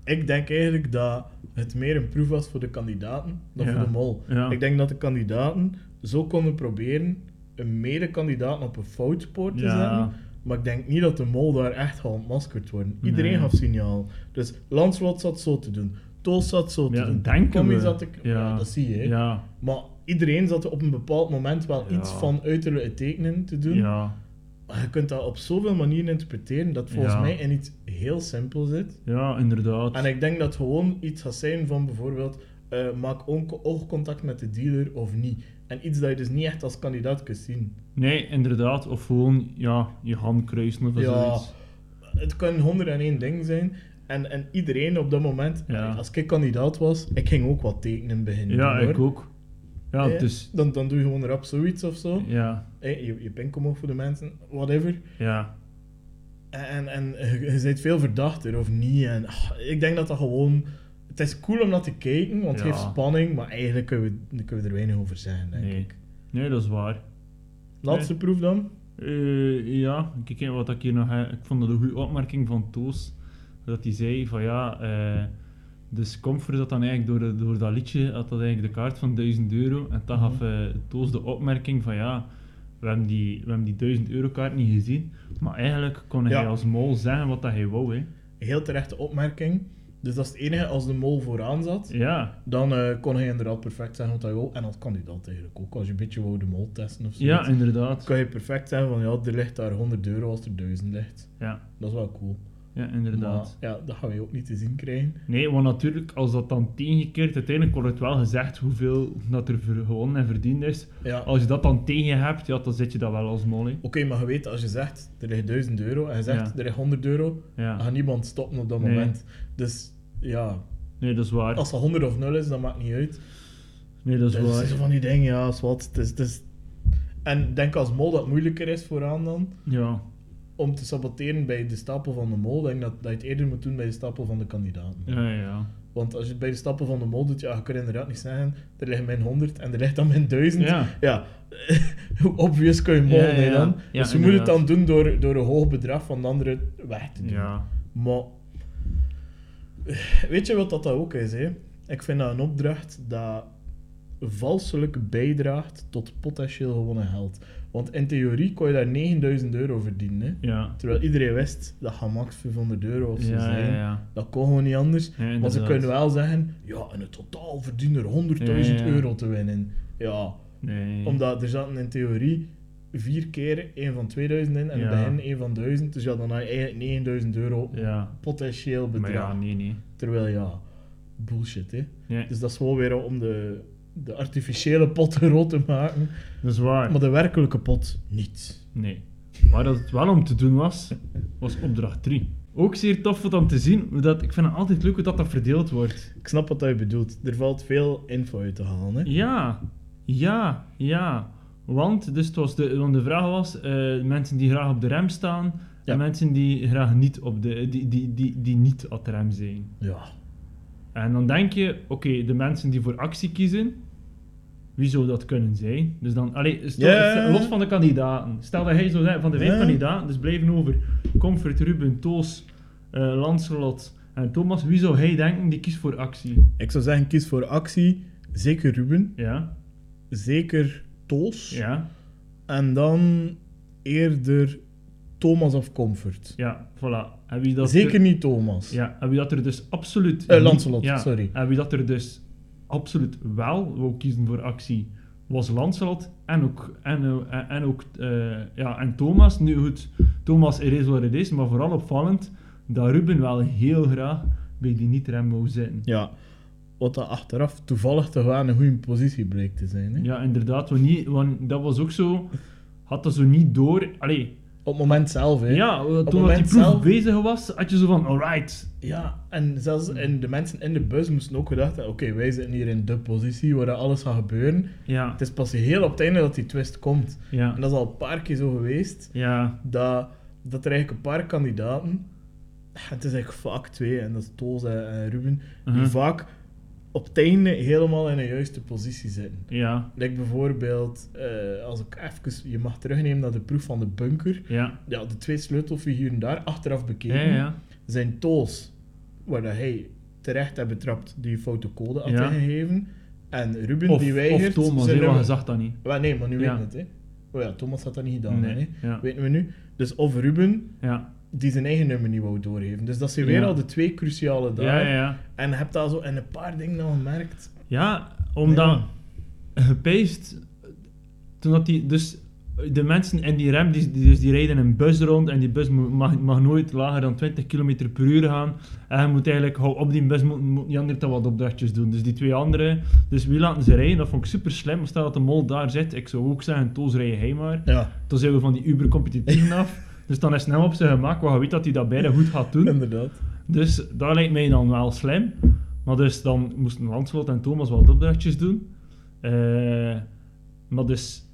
Speaker 1: ik denk eigenlijk dat het meer een proef was voor de kandidaten dan
Speaker 2: Ja.
Speaker 1: voor de mol.
Speaker 2: Ja.
Speaker 1: Ik denk dat de kandidaten zo konden proberen een medekandidaat op een foutspoor te
Speaker 2: Ja.
Speaker 1: zetten. Maar ik denk niet dat de mol daar echt gaat ontmaskerd worden. Iedereen
Speaker 2: Nee.
Speaker 1: gaf signaal. Dus Lanslot zat zo te doen. Toos zat zo te
Speaker 2: ja
Speaker 1: doen.
Speaker 2: denken
Speaker 1: Tommy
Speaker 2: we.
Speaker 1: zat te... Ja. dat zie je. hè.
Speaker 2: Ja,
Speaker 1: Maar iedereen zat op een bepaald moment wel
Speaker 2: Ja.
Speaker 1: iets van uiterlijke tekenen te doen.
Speaker 2: ja,
Speaker 1: Maar je kunt dat op zoveel manieren interpreteren dat volgens
Speaker 2: Ja.
Speaker 1: mij in iets heel simpel zit.
Speaker 2: ja, inderdaad.
Speaker 1: En ik denk dat het gewoon iets gaat zijn van bijvoorbeeld eh, maak on- oogcontact met de dealer of niet. En iets dat je dus niet echt als kandidaat kunt zien.
Speaker 2: Nee, inderdaad, of gewoon, ja, je hand kruisen of
Speaker 1: Ja,
Speaker 2: zoiets.
Speaker 1: het kan 101 ding zijn. En, en iedereen op dat moment,
Speaker 2: Ja.
Speaker 1: als ik kandidaat was, ik ging ook wat tekenen beginnen.
Speaker 2: Ja,
Speaker 1: doen,
Speaker 2: ik
Speaker 1: hoor.
Speaker 2: ook. Ja,
Speaker 1: Eh,
Speaker 2: dus,
Speaker 1: dan, dan doe je gewoon rap zoiets of zo.
Speaker 2: ja,
Speaker 1: Eh, je, je pink omhoog voor de mensen, whatever.
Speaker 2: ja,
Speaker 1: En, en je, je bent veel verdachter of niet. En, ah, ik denk dat dat gewoon. Het is cool om naar te kijken, want het
Speaker 2: Ja.
Speaker 1: geeft spanning, maar eigenlijk kunnen we, kunnen we er weinig over zeggen, denk
Speaker 2: nee.
Speaker 1: ik.
Speaker 2: Nee, dat is waar.
Speaker 1: Laatste proef dan?
Speaker 2: Eh, ja, ik kijk wat ik hier nog heb. Ik vond dat een goede opmerking van Toos. Dat hij zei van ja, eh dus Comfort dat dan eigenlijk door, de- door dat liedje had dat eigenlijk de kaart van 1000 euro. En dan
Speaker 1: Mhm.
Speaker 2: gaf eh, Toos de opmerking van ja, we hebben die, we hebben die 1000 euro kaart niet gezien. Maar eigenlijk kon hij
Speaker 1: Ja.
Speaker 2: als mol zeggen wat dat hij wou. Hè.
Speaker 1: Heel terechte opmerking. Dus dat is het enige, als de mol vooraan zat,
Speaker 2: Ja.
Speaker 1: dan eh, kon hij inderdaad perfect zeggen wat hij wil. En dat kan hij dat eigenlijk ook, als je een beetje wou de mol testen of zo.
Speaker 2: ja, inderdaad.
Speaker 1: kan je perfect zeggen van ja, er ligt daar 100 euro als er 1000 ligt.
Speaker 2: Ja,
Speaker 1: Dat is wel cool.
Speaker 2: ja inderdaad.
Speaker 1: Maar, ja, dat gaan we ook niet te zien krijgen.
Speaker 2: Nee, want natuurlijk, als dat dan tegenkeert, uiteindelijk wordt het wel gezegd hoeveel dat er ver- gewonnen en verdiend is.
Speaker 1: Ja.
Speaker 2: Als je dat dan tegen je hebt, ja, dan zit je dat wel als mol. hè.
Speaker 1: Oké, maar je weet, als je zegt, er ligt 1000 euro, en je zegt,
Speaker 2: Ja.
Speaker 1: er ligt 100 euro, dan
Speaker 2: Ja.
Speaker 1: gaat niemand stoppen op dat
Speaker 2: Nee.
Speaker 1: moment. Dus ja,
Speaker 2: Nee, dat is waar.
Speaker 1: als dat 100 of 0 is, dat maakt niet uit.
Speaker 2: Nee, dat is
Speaker 1: Dus het is zo
Speaker 2: waar.
Speaker 1: van die dingen, ja, is wat. Het is, het is... En ik denk als mol dat het moeilijker is vooraan dan,
Speaker 2: Ja.
Speaker 1: om te saboteren bij de stapel van de mol, denk dat, dat je het eerder moet doen bij de stapel van de kandidaten.
Speaker 2: Ja, ja, ja.
Speaker 1: Want als je het bij de stappen van de mol doet, ja, je kunt inderdaad niet zeggen, er liggen mijn 100 en er ligt dan mijn 1000.
Speaker 2: Ja.
Speaker 1: hoe *laughs* obvious kun je mol
Speaker 2: Ja, ja, ja.
Speaker 1: dan?
Speaker 2: Ja,
Speaker 1: dus je moet het
Speaker 2: inderdaad.
Speaker 1: dan doen door, door een hoog bedrag van de andere weg te doen.
Speaker 2: Ja.
Speaker 1: Maar weet je wat dat dan ook is? Hè? Ik vind dat een opdracht dat valselijk bijdraagt tot potentieel gewonnen geld. Want in theorie kon je daar 9000 euro verdienen. Hè?
Speaker 2: Ja.
Speaker 1: Terwijl iedereen wist dat gaat max 500 euro of zo
Speaker 2: Ja,
Speaker 1: zijn.
Speaker 2: ja, ja.
Speaker 1: Dat kon gewoon niet anders.
Speaker 2: Ja,
Speaker 1: maar ze
Speaker 2: inderdaad.
Speaker 1: kunnen wel zeggen, ja, in het totaal verdienen er 100.000
Speaker 2: Ja, ja.
Speaker 1: euro te winnen. Ja,
Speaker 2: Nee.
Speaker 1: omdat er zaten in theorie vier keer een van 2000 in en
Speaker 2: Ja.
Speaker 1: begin een van 1000. Dus ja, dan had je eigenlijk 9000 euro
Speaker 2: Ja.
Speaker 1: potentieel
Speaker 2: Maar
Speaker 1: bedrag.
Speaker 2: ja, nee, nee.
Speaker 1: Terwijl ja, bullshit hè.
Speaker 2: Ja,
Speaker 1: Dus dat is gewoon weer om de, de artificiële pot *laughs* rood te maken,
Speaker 2: dat is waar.
Speaker 1: maar de werkelijke pot niet.
Speaker 2: Nee. Waar dat het wel om te doen was, was opdracht 3. Ook zeer tof om te zien. hoe Dat, ik vind het altijd leuk hoe dat, dat verdeeld wordt.
Speaker 1: Ik snap wat dat je bedoelt. Er valt veel info uit te halen. Hè?
Speaker 2: Ja, ja, ja. Want, dus het was de, want de vraag was: eh, mensen die graag op de rem staan.
Speaker 1: Ja.
Speaker 2: En mensen die graag niet op de. Die, die, die, die niet op de rem zijn.
Speaker 1: Ja.
Speaker 2: En dan denk je, oké, de mensen die voor actie kiezen, wie zou dat kunnen zijn? Dus dan, allee, stel-
Speaker 1: Ja.
Speaker 2: los van de kandidaten. Stel dat hij zou zijn van de vijf
Speaker 1: Ja.
Speaker 2: kandidaten, dus blijven over Comfort, Ruben, Toos, eh Lancelot en Thomas, wie zou hij denken die kiest voor actie?
Speaker 1: Ik zou zeggen, kies voor actie. Zeker Ruben.
Speaker 2: Ja,
Speaker 1: Zeker Toos.
Speaker 2: ja,
Speaker 1: En dan eerder Thomas of Comfort.
Speaker 2: ja, voilà. En wie dat
Speaker 1: Zeker
Speaker 2: er,
Speaker 1: niet Thomas.
Speaker 2: Ja, en wie dat er dus absoluut...
Speaker 1: Eh,
Speaker 2: niet-
Speaker 1: Lancelot,
Speaker 2: ja,
Speaker 1: sorry.
Speaker 2: En wie dat er dus absoluut wel wou kiezen voor actie, was Lancelot en ook, en, eh, en, en ook eh, ja, en Thomas. Nu goed, Thomas er is wat het is, maar vooral opvallend dat Ruben wel heel graag bij die niet-rem wou zitten.
Speaker 1: Ja. Wat dat achteraf toevallig toch wel een goede positie bleek te zijn. Hè?
Speaker 2: Ja, inderdaad, want, niet, want dat was ook zo... Had dat zo niet door... Allee,
Speaker 1: Op het moment zelf, hè.
Speaker 2: ja, eh,
Speaker 1: het
Speaker 2: toen dat die
Speaker 1: moment
Speaker 2: proef
Speaker 1: zelf-
Speaker 2: bezig was, had je zo van, alright.
Speaker 1: Ja, en zelfs in de mensen in de bus moesten ook gedacht hebben, oké, wij zitten hier in de positie waar dat alles gaat gebeuren.
Speaker 2: Ja,
Speaker 1: Het is pas heel op het einde dat die twist komt.
Speaker 2: ja,
Speaker 1: En dat is al een paar keer zo geweest,
Speaker 2: ja,
Speaker 1: dat, dat er eigenlijk een paar kandidaten, het is eigenlijk vaak twee, en dat is Toos en, en Ruben,
Speaker 2: Mhm.
Speaker 1: die vaak op het einde helemaal in de juiste positie zitten.
Speaker 2: ja,
Speaker 1: Like bijvoorbeeld, eh, als ik even, je mag terugnemen naar de proef van de bunker.
Speaker 2: ja,
Speaker 1: Ja, de twee sleutelfiguren daar achteraf
Speaker 2: ja,
Speaker 1: bekeken
Speaker 2: ja.
Speaker 1: zijn tools waar dat hij terecht heeft betrapt die foute code had
Speaker 2: Ja.
Speaker 1: ingegeven. En Ruben
Speaker 2: Of,
Speaker 1: die weigert...
Speaker 2: of Thomas,
Speaker 1: zijn
Speaker 2: hè, want
Speaker 1: nummer-
Speaker 2: je zag dat niet.
Speaker 1: Wel, nee, maar nu
Speaker 2: Ja.
Speaker 1: weten we het. Hè. Oh ja, Thomas had dat niet gedaan.
Speaker 2: Nee,
Speaker 1: Hè.
Speaker 2: ja.
Speaker 1: Weten we nu. Dus of Ruben
Speaker 2: Ja.
Speaker 1: die zijn eigen nummer niet wou doorgeven. Dus dat zijn weer
Speaker 2: Ja.
Speaker 1: al de twee cruciale
Speaker 2: Ja,
Speaker 1: dagen.
Speaker 2: ja, ja.
Speaker 1: En je hebt daar zo in een paar dingen al gemerkt.
Speaker 2: Ja, *laughs* omdat gepaced, toen dat die, dus de mensen in die rem, die, die- dus die rijden een bus rond en die bus mo- mag, mag nooit lager dan 20 km per uur gaan. En je moet eigenlijk, hou op die bus moet, moet die anderen dan wat opdrachtjes doen. Dus die twee anderen, dus wie laten ze rijden? Dat vond ik super slim. Stel dat de mol daar zit, ik zou ook zeggen, Toos rijden hij maar.
Speaker 1: Ja,
Speaker 2: Toen zijn we van die uber-competitieven af. *laughs* Dus dan is het hem op zijn gemak, want je weet dat hij dat beide goed gaat doen.
Speaker 1: inderdaad.
Speaker 2: Dus dat lijkt mij dan wel slim. Maar dus dan moesten Lanslot en Thomas wat opdrachtjes doen. Eh, maar dus,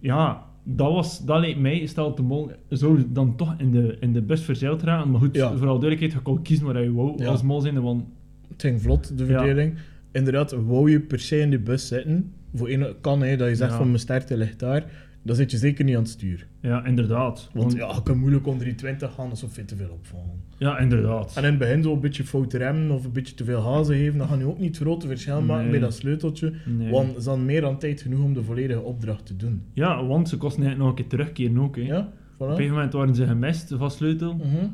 Speaker 2: ja, dat, was, dat lijkt mij, stel dat de mol zou dan toch in de, in de bus verzeild raken. Maar goed,
Speaker 1: Ja.
Speaker 2: vooral duidelijkheid, je kon kiezen waar je wou
Speaker 1: Ja.
Speaker 2: als mol zijn. Want
Speaker 1: Het ging vlot, de
Speaker 2: Ja.
Speaker 1: verdeling. Inderdaad, wou je per se in de bus zitten, voor één kan hè, dat je zegt
Speaker 2: Ja.
Speaker 1: van mijn sterkte ligt daar, dan zit je zeker niet aan het stuur.
Speaker 2: ja, inderdaad.
Speaker 1: Want ja, je kan moeilijk onder die 20 gaan alsof je te veel opvallen.
Speaker 2: ja, inderdaad.
Speaker 1: En in het begin zo een beetje fout remmen of een beetje te veel hazen geven, dan gaan je ook niet het grote verschil maken
Speaker 2: Nee.
Speaker 1: bij dat sleuteltje.
Speaker 2: Nee.
Speaker 1: Want ze hadden meer dan tijd genoeg om de volledige opdracht te doen.
Speaker 2: Ja, want ze kosten eigenlijk nog een keer terugkeren ook. Hè.
Speaker 1: Ja,
Speaker 2: Op een
Speaker 1: voilà.
Speaker 2: gegeven moment waren ze gemist van sleutel.
Speaker 1: Mhm.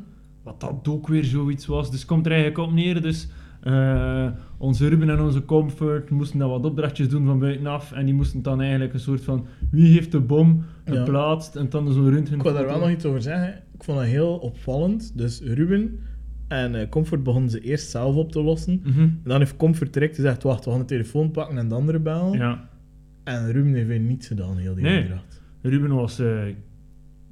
Speaker 2: Wat dat ook weer zoiets was. Dus het komt er eigenlijk op neer. Dus eh, onze Ruben en onze Comfort moesten dan wat opdrachtjes doen van buitenaf. En die moesten dan eigenlijk een soort van wie heeft de bom
Speaker 1: Ja.
Speaker 2: geplaatst. En dan zo'n röntgen.
Speaker 1: Ik wil daar wel nog iets over zeggen. Ik vond dat heel opvallend. Dus Ruben en eh, Comfort begonnen ze eerst zelf op te lossen.
Speaker 2: Mhm.
Speaker 1: En dan heeft Comfort direct gezegd, wacht, we gaan de telefoon pakken en de andere bellen.
Speaker 2: Ja,
Speaker 1: En Ruben heeft weer niets gedaan, heel die
Speaker 2: Nee.
Speaker 1: opdracht.
Speaker 2: Ruben was eh,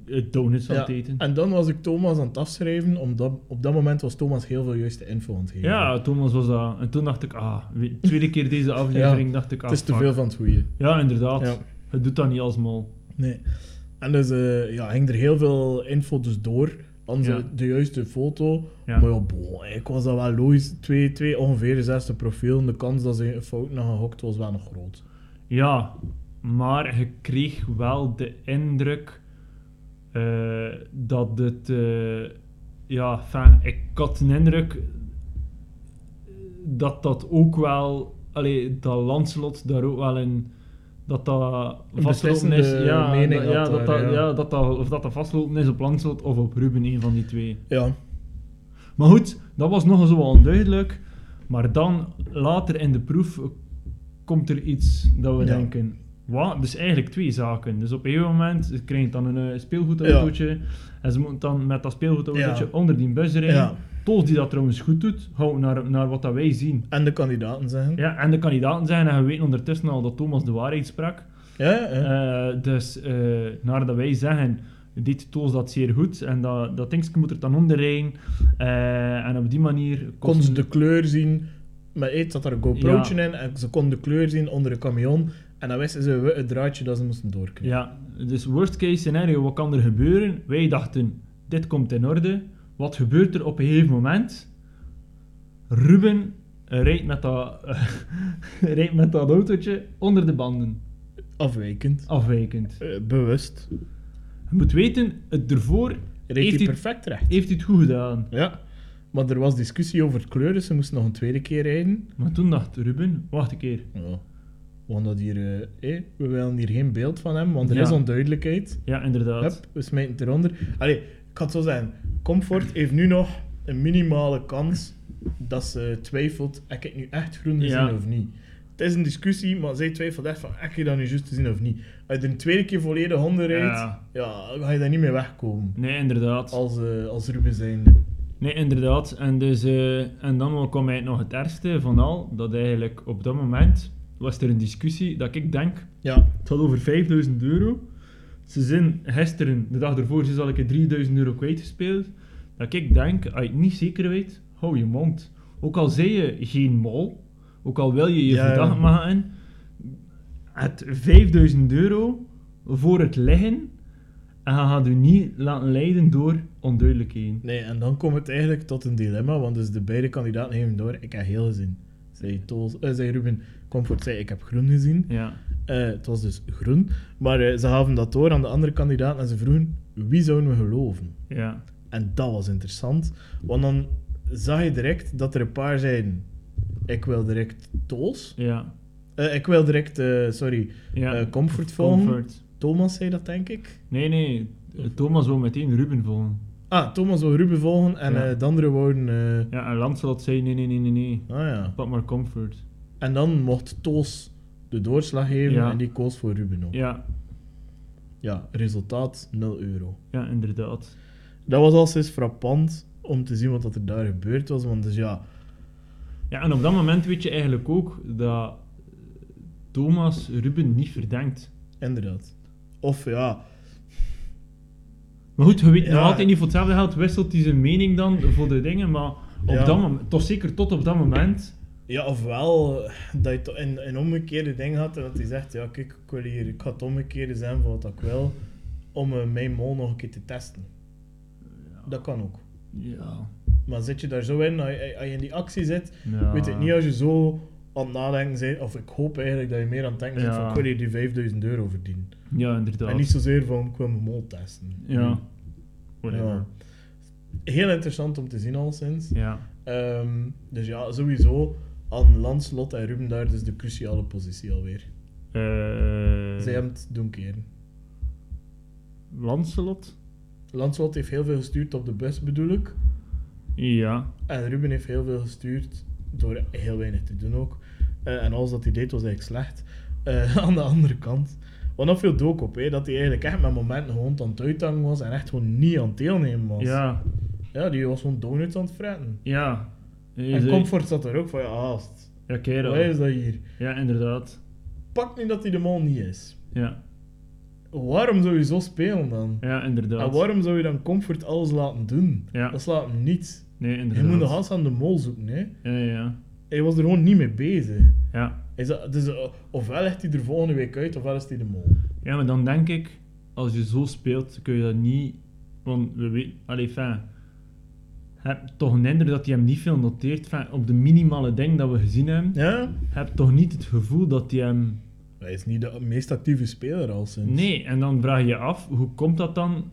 Speaker 2: het donuts aan het eten.
Speaker 1: En dan was ik Thomas aan het afschrijven, omdat op dat moment was Thomas heel veel juiste info aan het geven.
Speaker 2: Ja, Thomas was dat. En toen dacht ik, ah, we- tweede keer
Speaker 1: *laughs*
Speaker 2: deze aflevering dacht ik, ah,
Speaker 1: het is te
Speaker 2: fuck.
Speaker 1: veel van het goede.
Speaker 2: Ja, inderdaad.
Speaker 1: Ja.
Speaker 2: Het doet dat niet als mal.
Speaker 1: Nee. En dus eh, ja, ging er heel veel info dus door. Aan
Speaker 2: Ja.
Speaker 1: de- de juiste foto.
Speaker 2: Ja.
Speaker 1: Maar ja, bon, ik was dat wel logisch. Twee, twee ongeveer zesde profiel. De kans dat ze een fout naar gehokt was wel nog groot.
Speaker 2: Ja, maar je kreeg wel de indruk eh, dat het. eh, ja, enfin, ik had de indruk dat dat ook wel. Allee, dat Lancelot daar ook wel een. Dat dat
Speaker 1: Een
Speaker 2: vastgelopen is.
Speaker 1: beslissende
Speaker 2: Ja,
Speaker 1: mening
Speaker 2: dat- ja,
Speaker 1: had
Speaker 2: dat,
Speaker 1: daar,
Speaker 2: dat-
Speaker 1: ja.
Speaker 2: ja, dat dat- of dat dat vastgelopen is op Lancelot of op Ruben, een van die twee.
Speaker 1: Ja,
Speaker 2: Maar goed, dat was nog eens wel onduidelijk. Maar dan, later in de proef, komt er iets dat we
Speaker 1: Ja.
Speaker 2: denken... Wat? Dus eigenlijk twee zaken. Dus op een gegeven moment ze krijgen dan een eh, speelgoedautootje en ze moeten dan met dat speelgoedautootje
Speaker 1: Ja.
Speaker 2: onder die bus rijden.
Speaker 1: Ja.
Speaker 2: Toos die dat trouwens goed doet, houdt naar, naar wat dat wij zien.
Speaker 1: En de kandidaten zeggen.
Speaker 2: Ja, en de kandidaten zijn, en we weten ondertussen al dat Thomas de waarheid sprak.
Speaker 1: Ja, ja, ja.
Speaker 2: Eh, dus eh naar dat wij zeggen, dit Toos dat zeer goed en dat, dat dingetje moet er dan onder rijden. Eh, en op die manier...
Speaker 1: Konden ze
Speaker 2: kosten-
Speaker 1: de kleur zien. Maar eet zat er een GoPro'tje in en ze konden de kleur zien onder een camion. En dan wisten ze we- het draadje dat ze moesten doorknippen.
Speaker 2: Ja, dus worst case scenario, wat kan er gebeuren? Wij dachten, dit komt in orde. Wat gebeurt er op een gegeven moment? Ruben eh, rijdt met dat, *laughs* rijdt met dat autootje onder de banden,
Speaker 1: Afwijkend.
Speaker 2: afwijkend.
Speaker 1: Eh, bewust.
Speaker 2: Je moet weten, het ervoor
Speaker 1: Reed
Speaker 2: heeft
Speaker 1: hij
Speaker 2: hij,
Speaker 1: perfect recht.
Speaker 2: heeft hij het goed gedaan.
Speaker 1: Ja. Maar er was discussie over kleur, dus ze moesten nog een tweede keer rijden.
Speaker 2: Maar toen dacht Ruben, wacht een keer.
Speaker 1: Ja. We gaan dat hier... eh, hé, we willen hier geen beeld van hem, want er
Speaker 2: Ja.
Speaker 1: is onduidelijkheid.
Speaker 2: Ja, inderdaad.
Speaker 1: Hup, we smijten het eronder. Allee, ik had zo zijn. Comfort heeft nu nog een minimale kans dat ze twijfelt, heb ik het nu echt groen gezien
Speaker 2: Ja.
Speaker 1: of niet? Het is een discussie, maar zij twijfelt echt van, heb je dat nu juist gezien of niet? Als je er een tweede keer volledig onder rijdt, ja.
Speaker 2: Ja.
Speaker 1: dan ga je daar niet mee wegkomen.
Speaker 2: Nee, inderdaad.
Speaker 1: Als, eh, als Ruben zijn.
Speaker 2: Nee, inderdaad. En, dus, eh, en dan kwam eigenlijk nog het ergste van al, dat eigenlijk op dat moment was er een discussie dat ik denk,
Speaker 1: Ja.
Speaker 2: het gaat over 5000 euro. Ze zijn gisteren, de dag ervoor, ze is al een keer 3000 euro kwijtgespeeld. Dat ik denk, als je het niet zeker weet, hou je mond. Ook al zei je geen mol, ook al wil je je
Speaker 1: Ja, ja.
Speaker 2: verdacht maken, het 5000 euro voor het liggen en je gaat je niet laten leiden door onduidelijkheden.
Speaker 1: Nee, en dan komt het eigenlijk tot een dilemma, want dus de beide kandidaten nemen door, ik heb heel gezien. Zei, Toos, eh, zei Ruben, Comfort zei, ik heb groen gezien.
Speaker 2: Ja.
Speaker 1: Eh, het was dus groen. Maar eh, ze gaven dat door aan de andere kandidaat en ze vroegen wie zouden we geloven.
Speaker 2: Ja,
Speaker 1: En dat was interessant, want dan zag je direct dat er een paar zijn. Ik wil direct Toos.
Speaker 2: ja,
Speaker 1: Eh, ik wil direct, eh, sorry,
Speaker 2: ja.
Speaker 1: eh, Comfort volgen.
Speaker 2: Comfort.
Speaker 1: Thomas zei dat, denk ik.
Speaker 2: Nee, nee, Eh, Thomas wil meteen Ruben volgen.
Speaker 1: Ah, Thomas wil Ruben volgen en
Speaker 2: Ja.
Speaker 1: eh, de anderen wouden... eh,
Speaker 2: Ja, en Lancelot zei nee, nee, nee, nee, nee.
Speaker 1: Ah ja.
Speaker 2: Pak maar Comfort.
Speaker 1: En dan mocht Toos de doorslag geven
Speaker 2: Ja.
Speaker 1: en die koos voor Ruben ook. Ja.
Speaker 2: Ja,
Speaker 1: resultaat 0 euro.
Speaker 2: ja, inderdaad.
Speaker 1: Dat was al sinds frappant om te zien wat dat er daar gebeurd was, want dus ja...
Speaker 2: Ja, en op dat moment weet je eigenlijk ook dat Thomas Ruben niet verdenkt.
Speaker 1: Inderdaad. Of ja,
Speaker 2: Maar goed, je weet
Speaker 1: Ja.
Speaker 2: nog altijd niet voor hetzelfde geld wisselt hij zijn mening dan voor de dingen, maar op
Speaker 1: Ja.
Speaker 2: dat moment, toch zeker tot op dat moment,
Speaker 1: ja ofwel dat je to- een, een omgekeerde ding had en dat hij zegt, ja kijk, ik, wil hier, ik ga het omgekeerde zijn van wat ik wil, om eh, mijn mol nog een keer te testen. Dat kan ook.
Speaker 2: ja.
Speaker 1: Maar zit je daar zo in, als je, als je in die actie zit,
Speaker 2: ja.
Speaker 1: weet ik niet als je zo aan het nadenken bent, of ik hoop eigenlijk dat je meer aan het denken bent
Speaker 2: Ja.
Speaker 1: van, ik wil hier die 5000 euro verdienen.
Speaker 2: Ja, inderdaad.
Speaker 1: En niet zozeer van, ik wil mijn mol testen.
Speaker 2: Ja.
Speaker 1: Ja.
Speaker 2: Whatever.
Speaker 1: Heel interessant om te zien alleszins.
Speaker 2: Ja.
Speaker 1: Ehm, dus ja, sowieso aan Lanslot en Ruben daar dus de cruciale positie alweer.
Speaker 2: Mm. Eh,
Speaker 1: Zij hem het doen keren.
Speaker 2: Lancelot?
Speaker 1: Lanslot heeft heel veel gestuurd op de bus, bedoel ik.
Speaker 2: Ja.
Speaker 1: En Ruben heeft heel veel gestuurd door heel weinig te doen ook. Eh, en alles dat hij deed was eigenlijk slecht. Eh, *laughs* aan de andere kant. Want dat viel ook op, hè, dat hij eigenlijk echt met momenten gewoon aan het uithangen was en echt gewoon niet aan het deelnemen was.
Speaker 2: Ja.
Speaker 1: Ja, die was gewoon donuts aan het fretten.
Speaker 2: Ja. Eh,
Speaker 1: En
Speaker 2: ze-
Speaker 1: Comfort zat er ook van, ja, haast.
Speaker 2: Ja, kerel.
Speaker 1: Wat is dat hier?
Speaker 2: Ja, inderdaad.
Speaker 1: Pak nu dat hij de man niet is.
Speaker 2: Ja.
Speaker 1: Waarom zou je zo spelen dan?
Speaker 2: Ja, inderdaad.
Speaker 1: En waarom zou je dan Comfort alles laten doen?
Speaker 2: Ja.
Speaker 1: Dat slaat hem niet.
Speaker 2: Nee,
Speaker 1: Hij
Speaker 2: inderdaad.
Speaker 1: moet de gast aan de mol zoeken, hè.
Speaker 2: Ja, ja.
Speaker 1: Hij was er gewoon niet mee bezig.
Speaker 2: Ja.
Speaker 1: Hij zei- dus, eh, ofwel legt hij er volgende week uit, ofwel is hij de mol.
Speaker 2: Ja, maar dan denk ik, als je zo speelt, kun je dat niet... Want we weten... Allee, fijn. Heb toch een indruk dat hij hem niet veel noteert. Enfin, op de minimale ding dat we gezien hebben,
Speaker 1: Ja?
Speaker 2: heb toch niet het gevoel dat hij hem...
Speaker 1: Hij is niet de meest actieve speler al sinds.
Speaker 2: Nee, en dan vraag je je af, hoe komt dat dan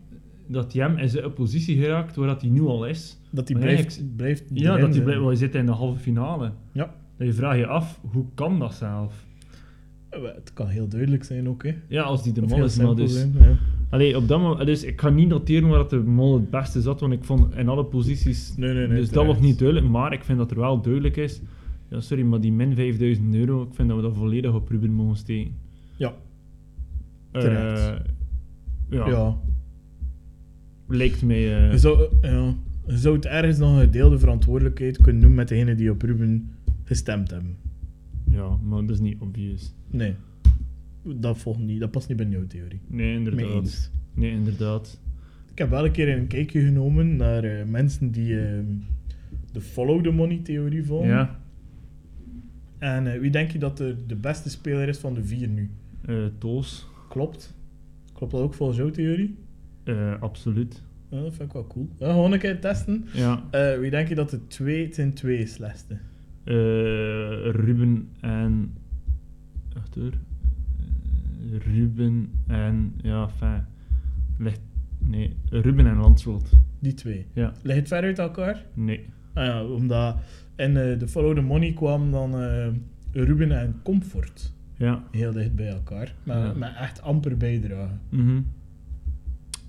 Speaker 2: dat hij hem in zijn positie geraakt waar dat hij nu al is?
Speaker 1: Dat hij
Speaker 2: Maar
Speaker 1: blijft, blijft
Speaker 2: Ja,
Speaker 1: erin
Speaker 2: dat hij
Speaker 1: zitten.
Speaker 2: blijft... Want je zit in de halve finale.
Speaker 1: Ja.
Speaker 2: Dan je vraagt je af, hoe kan dat zelf?
Speaker 1: Eh, wel, Het kan heel duidelijk zijn ook, hè.
Speaker 2: Ja, als die de
Speaker 1: Of
Speaker 2: man
Speaker 1: heel
Speaker 2: is, maar
Speaker 1: simpel
Speaker 2: dus...
Speaker 1: zijn, ja.
Speaker 2: Allee, op dat moment, dus ik ga niet noteren waar dat de mol het beste zat, want ik vond in alle posities...
Speaker 1: Nee, nee, nee,
Speaker 2: dus dat
Speaker 1: terecht.
Speaker 2: was niet duidelijk, maar ik vind dat er wel duidelijk is. Ja, sorry, maar die min 5000 euro, ik vind dat we dat volledig op Ruben mogen steken.
Speaker 1: Ja.
Speaker 2: Eh,
Speaker 1: Terecht.
Speaker 2: ja,
Speaker 1: ja.
Speaker 2: lijkt mij... eh,
Speaker 1: Je zou, ja, je zou het ergens nog een gedeelde verantwoordelijkheid kunnen noemen met degene die op Ruben gestemd hebben.
Speaker 2: ja, maar dat is niet obvious.
Speaker 1: Nee. Dat volgt niet. Dat past niet bij jouw theorie.
Speaker 2: Nee,
Speaker 1: Mee
Speaker 2: inderdaad.
Speaker 1: eens.
Speaker 2: Nee, inderdaad.
Speaker 1: Ik heb wel een keer een kijkje genomen naar eh, mensen die eh, de follow the money theorie volgen.
Speaker 2: Ja,
Speaker 1: En eh, wie denk je dat de, de beste speler is van de vier nu?
Speaker 2: eh, Toos.
Speaker 1: Klopt. Klopt dat ook volgens jouw theorie?
Speaker 2: Eh, absoluut.
Speaker 1: Ja, dat vind ik wel cool. Ja, gewoon een keer testen.
Speaker 2: Ja.
Speaker 1: Eh, wie denk je dat de twee ten twee is, Leste?
Speaker 2: Eh, Ruben en... Wacht hoor. Eh, Ruben en... Ja, fijn. Ligt... Nee, Ruben en Landsloot.
Speaker 1: Die twee.
Speaker 2: Ja.
Speaker 1: Ligt het ver uit elkaar?
Speaker 2: Nee.
Speaker 1: Ah ja, omdat in eh, de Follow the Money kwam dan eh, Ruben en Comfort
Speaker 2: Ja.
Speaker 1: heel dicht bij elkaar. Maar,
Speaker 2: Ja.
Speaker 1: maar echt amper bijdragen.
Speaker 2: Mhm.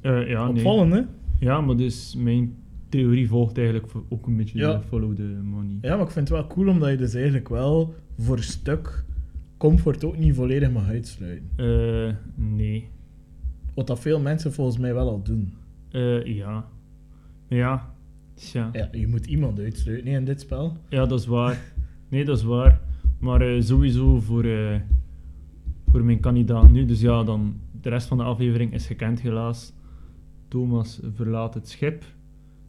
Speaker 2: Eh, ja, nee.
Speaker 1: Opvallend, hè?
Speaker 2: Ja, maar dus mijn theorie volgt eigenlijk vo- ook een beetje
Speaker 1: Ja.
Speaker 2: de follow the money.
Speaker 1: Ja, maar ik vind het wel cool omdat je dus eigenlijk wel voor een stuk Comfort ook niet volledig mag uitsluiten.
Speaker 2: Eh, nee.
Speaker 1: Wat dat veel mensen volgens mij wel al doen.
Speaker 2: Eh, ja. Ja. Tja. Ja.
Speaker 1: Ja, je moet iemand uitsluiten hè, in dit spel.
Speaker 2: dat is waar. Nee, dat is waar. Maar eh, sowieso voor, eh, voor mijn kandidaat nu. Dus ja, dan de rest van de aflevering is gekend helaas. Thomas verlaat het schip.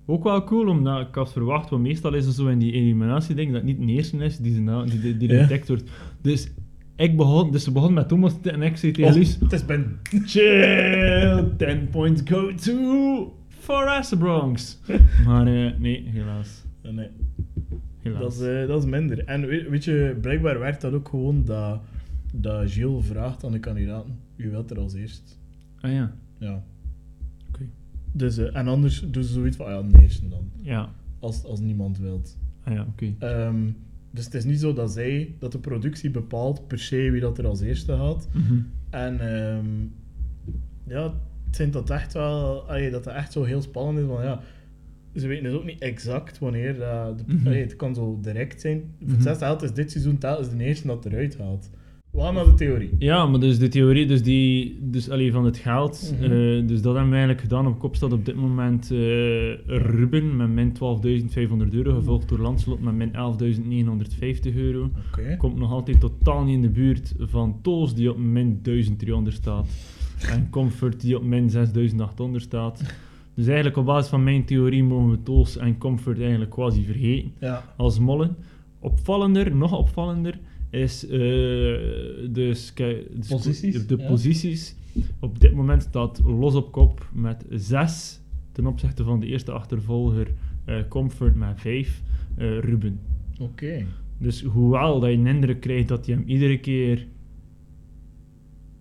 Speaker 2: Ook wel cool, omdat ik had verwacht, want meestal is het zo in die eliminatie ding dat het niet de eerste is die, ze na- die, die, die
Speaker 1: Ja.
Speaker 2: detect wordt. Dus ik begon, dus ze begon met Thomas en ik zei tegen
Speaker 1: Och,
Speaker 2: Luus,
Speaker 1: het is Ben.
Speaker 2: Chill! 10 points go to Forest Bronx.
Speaker 1: *laughs*
Speaker 2: Maar eh, nee, helaas.
Speaker 1: Ja, Nee,
Speaker 2: helaas.
Speaker 1: dat, is, eh, dat is minder. En weet, weet je, blijkbaar werkt dat ook gewoon dat, dat Gilles vraagt aan de kandidaten: wie wilt er als eerst?
Speaker 2: Ah ja,
Speaker 1: Ja.
Speaker 2: oké.
Speaker 1: Dus, eh, en anders doen ze zoiets van, ah ja, nee, eerste dan.
Speaker 2: Ja,
Speaker 1: Als, als niemand wilt.
Speaker 2: ah ja, oké.
Speaker 1: Ehm, dus het is niet zo dat zij, dat de productie bepaalt per se wie dat er als eerste gaat.
Speaker 2: Mhm.
Speaker 1: En ehm, ja, het vindt dat echt wel, allee, dat het echt zo heel spannend is. Want ja, ze weten dus ook niet exact wanneer, eh, de,
Speaker 2: Mhm.
Speaker 1: allee, het kan zo direct zijn. Voor
Speaker 2: Mhm.
Speaker 1: het zesde haalt is dit seizoen telkens de eerste dat eruit haalt. We gaan naar de theorie.
Speaker 2: Ja, maar dus de theorie dus die, dus, allee, van het geld,
Speaker 1: Mhm.
Speaker 2: eh, dus dat hebben we eigenlijk gedaan. Op kop staat op dit moment eh, Ruben met min 12.500 euro, gevolgd door Lanslot met min 11.950 euro.
Speaker 1: Oké.
Speaker 2: Komt nog altijd totaal niet in de buurt van Toos, die op min 1300 staat. En Comfort, die op min 6800 staat. Dus eigenlijk op basis van mijn theorie mogen we Toos en Comfort eigenlijk quasi vergeten
Speaker 1: Ja.
Speaker 2: als mollen. Opvallender, nog opvallender, is eh, dus, ki- dus
Speaker 1: Posities,
Speaker 2: de
Speaker 1: ja.
Speaker 2: posities. Op dit moment staat Los op kop met 6 ten opzichte van de eerste achtervolger eh, Comfort met 5, Ruben.
Speaker 1: Oké.
Speaker 2: Dus hoewel dat je een indruk krijgt dat je hem iedere keer.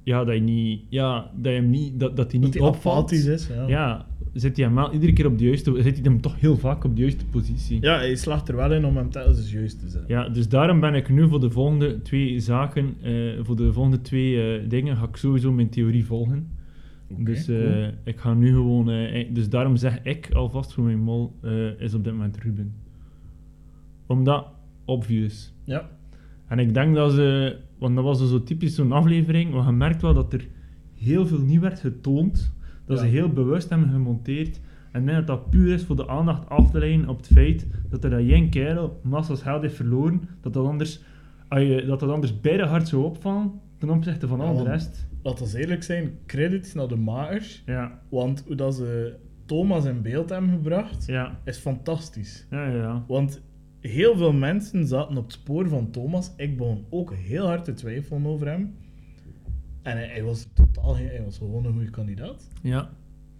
Speaker 2: Ja, dat je niet. Ja, dat je hem niet. Dat, dat hij
Speaker 1: Dat
Speaker 2: niet
Speaker 1: die
Speaker 2: opvalt.
Speaker 1: apathisch is, ja.
Speaker 2: Ja, zit hij hem wel iedere keer op de juiste. Zit hij hem toch heel vaak op de juiste positie.
Speaker 1: Ja, hij slaagt er wel in om hem telkens eens juist te zetten.
Speaker 2: Ja, dus daarom ben ik nu voor de volgende twee zaken. eh, voor de volgende twee eh, dingen ga ik sowieso mijn theorie volgen.
Speaker 1: Oké,
Speaker 2: dus eh,
Speaker 1: cool.
Speaker 2: ik ga nu gewoon. eh, eh, dus daarom zeg ik alvast voor mijn mol eh, is op dit moment Ruben. Omdat, obvious.
Speaker 1: Ja.
Speaker 2: En ik denk dat ze, want dat was dus zo typisch zo'n aflevering, want je merkt wel dat er heel veel nieuw werd getoond. Dat
Speaker 1: Ja.
Speaker 2: ze heel bewust hebben gemonteerd. En ik denk dat dat puur is voor de aandacht af te leiden op het feit dat er dat jong kerel massa's geld heeft verloren. Dat dat anders, als je- dat dat anders beide hard zou opvallen ten opzichte van al
Speaker 1: Ja.
Speaker 2: de rest.
Speaker 1: Laten we eerlijk zijn, credits naar de makers.
Speaker 2: Ja,
Speaker 1: Want hoe dat ze Thomas in beeld hebben gebracht,
Speaker 2: ja,
Speaker 1: is fantastisch.
Speaker 2: ja, ja. ja.
Speaker 1: Want heel veel mensen zaten op het spoor van Thomas. Ik begon ook heel hard te twijfelen over hem. En hij, hij was totaal geen- hij was gewoon een goede kandidaat.
Speaker 2: Ja,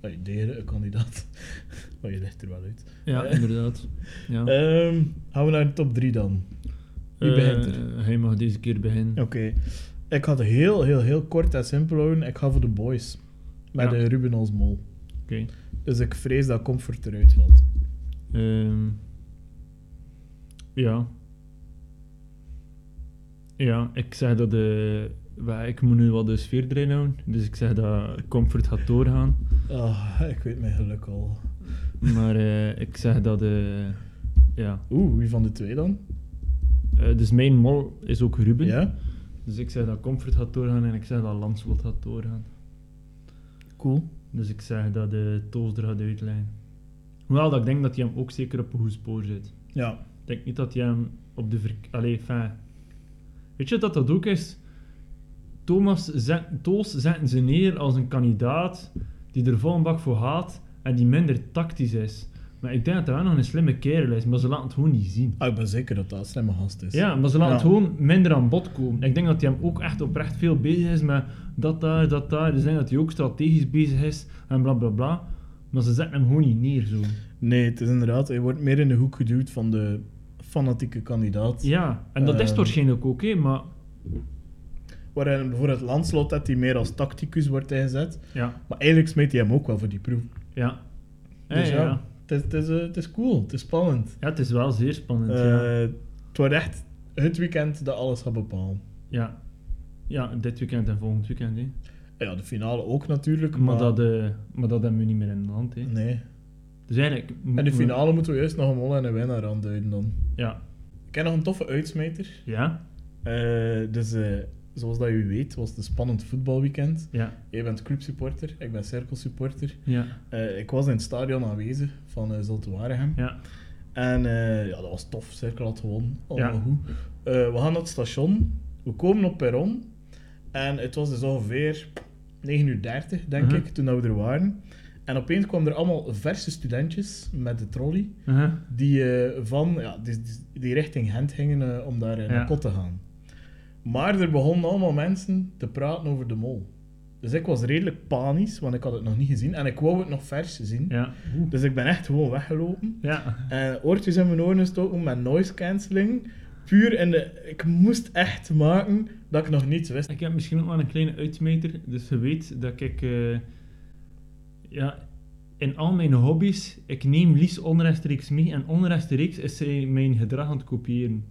Speaker 1: Hij deed een kandidaat. *laughs* Maar je legt er wel uit.
Speaker 2: ja
Speaker 1: Eh.
Speaker 2: inderdaad. Ja.
Speaker 1: Ehm, gaan we naar de top 3 dan. wie begint er?
Speaker 2: Eh, hij mag deze keer beginnen.
Speaker 1: Oké. Ik had heel, heel, heel kort en simpel houden. Ik ga voor de boys. Met
Speaker 2: Ja.
Speaker 1: eh, Ruben als mol.
Speaker 2: Oké.
Speaker 1: Dus ik vrees dat Comfort eruit valt.
Speaker 2: Ehm ja. Ja, ik zeg dat de. wa- ik moet nu wel de sfeer erin houden. Dus ik zeg dat comfort gaat doorgaan.
Speaker 1: Ah, ik weet mijn geluk al.
Speaker 2: Maar eh, ik zeg dat de. Ja.
Speaker 1: Oeh, wie van de twee dan?
Speaker 2: Eh, dus mijn mol is ook Ruben.
Speaker 1: Ja?
Speaker 2: Dus ik zeg dat comfort gaat doorgaan en ik zeg dat Lanslot gaat doorgaan.
Speaker 1: Cool.
Speaker 2: Dus ik zeg dat de Toos er gaat uitleggen. Hoewel dat ik denk dat hij hem ook zeker op een goed spoor zit.
Speaker 1: Ja.
Speaker 2: Ik denk niet dat hij hem op de verk... Allee, fijn. Weet je dat dat ook is? Thomas zet, Toos zetten ze neer als een kandidaat die er vol een bak voor haat en die minder tactisch is. Maar ik denk dat hij wel nog een slimme kerel is, maar ze laten het gewoon niet zien.
Speaker 1: Ah, ik ben zeker dat dat een slimme gast is.
Speaker 2: Ja, maar ze laten
Speaker 1: Ja.
Speaker 2: het gewoon minder aan bod komen. Ik denk dat hij hem ook echt oprecht veel bezig is met dat daar, dat daar. Dus ik denk dat hij ook strategisch bezig is en bla bla bla. Maar ze zetten hem gewoon niet neer zo.
Speaker 1: Nee, het is inderdaad, hij wordt meer in de hoek geduwd van de fanatieke kandidaat.
Speaker 2: Ja, en dat is
Speaker 1: Ehm.
Speaker 2: het waarschijnlijk ook, hè, maar
Speaker 1: Waarin bijvoorbeeld Landslot dat hij meer als tacticus wordt ingezet.
Speaker 2: ja,
Speaker 1: Maar eigenlijk smeet hij hem ook wel voor die proef.
Speaker 2: ja. Ja,
Speaker 1: Dus
Speaker 2: ja,
Speaker 1: ja,
Speaker 2: ja.
Speaker 1: Het, is, het, is, eh, het is cool, het is spannend.
Speaker 2: Ja, het is wel zeer spannend. ja.
Speaker 1: Eh, het wordt echt het weekend dat alles gaat bepalen.
Speaker 2: ja. Ja, dit weekend en volgend weekend. Hè.
Speaker 1: Ja, de finale ook natuurlijk,
Speaker 2: Maar,
Speaker 1: maar...
Speaker 2: dat, eh, maar dat hebben we niet meer in de hand. Hè.
Speaker 1: Nee.
Speaker 2: Dus eigenlijk.
Speaker 1: En de
Speaker 2: moeten we-
Speaker 1: finale moeten we juist nog een mol en een winnaar aanduiden dan.
Speaker 2: Ja.
Speaker 1: Ik heb nog een toffe uitsmijter.
Speaker 2: Ja,
Speaker 1: Eh, dus eh, zoals dat u weet was het een spannend voetbalweekend.
Speaker 2: ja,
Speaker 1: Jij bent clubsupporter, ik ben cirkelsupporter.
Speaker 2: ja,
Speaker 1: Eh, ik was in het stadion aanwezig van eh Zulte Waregem.
Speaker 2: ja.
Speaker 1: En eh, ja, dat was tof, Cirkel had gewonnen. Allemaal
Speaker 2: Ja.
Speaker 1: goed. Eh, we gaan naar het station, we komen op perron. En het was dus ongeveer 9.30 uur, denk
Speaker 2: Mhm.
Speaker 1: ik, toen dat we er waren. En opeens kwamen er allemaal verse studentjes met de trolley,
Speaker 2: Uh-huh.
Speaker 1: die, eh, van, ja, die, die- die richting Gent gingen eh, om daar eh,
Speaker 2: Ja.
Speaker 1: naar kot te gaan. Maar er begonnen allemaal mensen te praten over de mol. Dus ik was redelijk panisch, want ik had het nog niet gezien. En ik wou het nog vers zien.
Speaker 2: Ja.
Speaker 1: Dus ik ben echt gewoon weggelopen.
Speaker 2: Ja.
Speaker 1: En oortjes in mijn oren gestoken met noise cancelling. Puur in de... Ik moest echt maken dat ik nog niets wist.
Speaker 2: Ik heb misschien ook wel een kleine uitmeter, dus je weet dat ik... eh, ja, in al mijn hobby's, ik neem Lies onrechtstreeks mee en onrechtstreeks is zij mijn gedrag aan het kopiëren.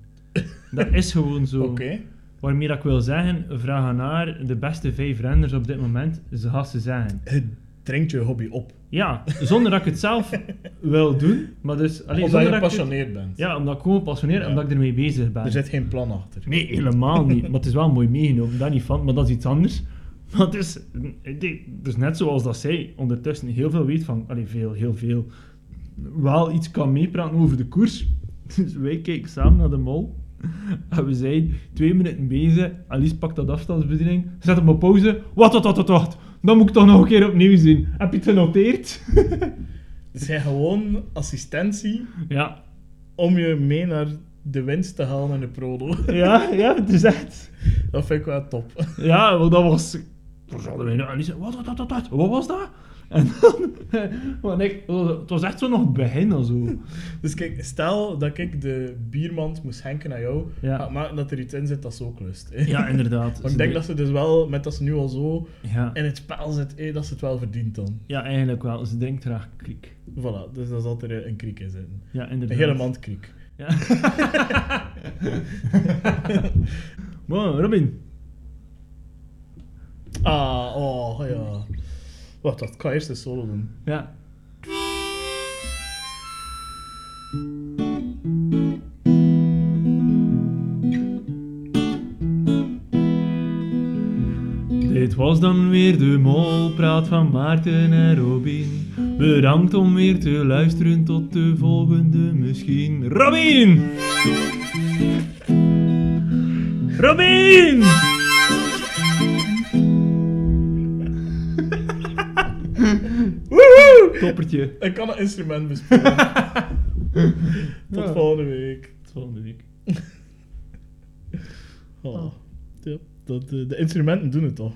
Speaker 2: Dat is gewoon zo.
Speaker 1: *laughs* Oké.
Speaker 2: Waarmee dat ik wil zeggen, vraag aan haar de beste vijf renders op dit moment, ze gaat ze zeggen.
Speaker 1: Het drinkt je hobby op.
Speaker 2: Ja, zonder dat ik het
Speaker 1: *laughs*
Speaker 2: zelf wil doen, maar dus...
Speaker 1: Omdat
Speaker 2: Allee,
Speaker 1: je
Speaker 2: zonder dat ik het-
Speaker 1: gepassioneerd bent.
Speaker 2: Ja, omdat ik gewoon passioneer en
Speaker 1: Ja.
Speaker 2: omdat ik ermee bezig ben.
Speaker 1: Er zit geen plan achter.
Speaker 2: Nee, helemaal niet. Maar het is wel mooi meegenomen, daar niet van. Maar dat is iets anders. *laughs* Maar het is, het is- het is net zoals dat zij ondertussen heel veel weet van... Allee, veel, heel veel. Wel iets kan meepraten over de koers. *laughs* Dus wij kijken samen naar de mol. *laughs* En we zijn twee minuten bezig. Alice pakt dat afstandsbediening. Zet hem op pauze. Wat, wat, wat, wat, wat. Dan moet ik toch nog een keer opnieuw zien. Heb je het genoteerd?
Speaker 1: *laughs*
Speaker 2: *laughs*
Speaker 1: Het zijn gewoon assistentie
Speaker 2: ja.
Speaker 1: om je mee naar de winst te halen in de prodo. *laughs*
Speaker 2: Ja, ja, het is echt...
Speaker 1: Dat vind ik wel top. *laughs*
Speaker 2: Ja, want dat was. Toen hadden wij nou, en die zei, wat, wat, wat, wat, wat, wat was dat? En dan, *laughs* want ik, het was echt zo nog het begin en zo.
Speaker 1: Dus kijk, stel dat ik de biermand moest henken aan jou,
Speaker 2: Ja.
Speaker 1: ga ik maken dat er iets in zit dat ze ook *laughs* lust.
Speaker 2: Ja, inderdaad.
Speaker 1: Want ik denk dat ze dus wel, met dat ze nu al zo
Speaker 2: Ja,
Speaker 1: in het spel zit, eh, dat ze het wel verdient dan.
Speaker 2: ja, eigenlijk wel. Ze denkt graag kriek.
Speaker 1: Voilà, dus daar zal er eh, een kriek in zitten.
Speaker 2: Ja,
Speaker 1: Een
Speaker 2: inderdaad.
Speaker 1: hele mand
Speaker 2: *laughs*
Speaker 1: kriek.
Speaker 2: Ja. Wow, Robin.
Speaker 1: Ah, oh ja. Wacht, dat kan eerst de solo doen.
Speaker 2: Ja. Dit was dan weer de molpraat van Maarten en Robin. Bedankt om weer te luisteren tot de volgende misschien. Robin! Robin!
Speaker 1: Woehoe!
Speaker 2: Toppertje.
Speaker 1: Ik kan een instrument
Speaker 2: *laughs*
Speaker 1: bespelen. Tot
Speaker 2: Ja.
Speaker 1: volgende week.
Speaker 2: Tot volgende week.
Speaker 1: Oh. Ja, dat, eh, de instrumenten doen het toch?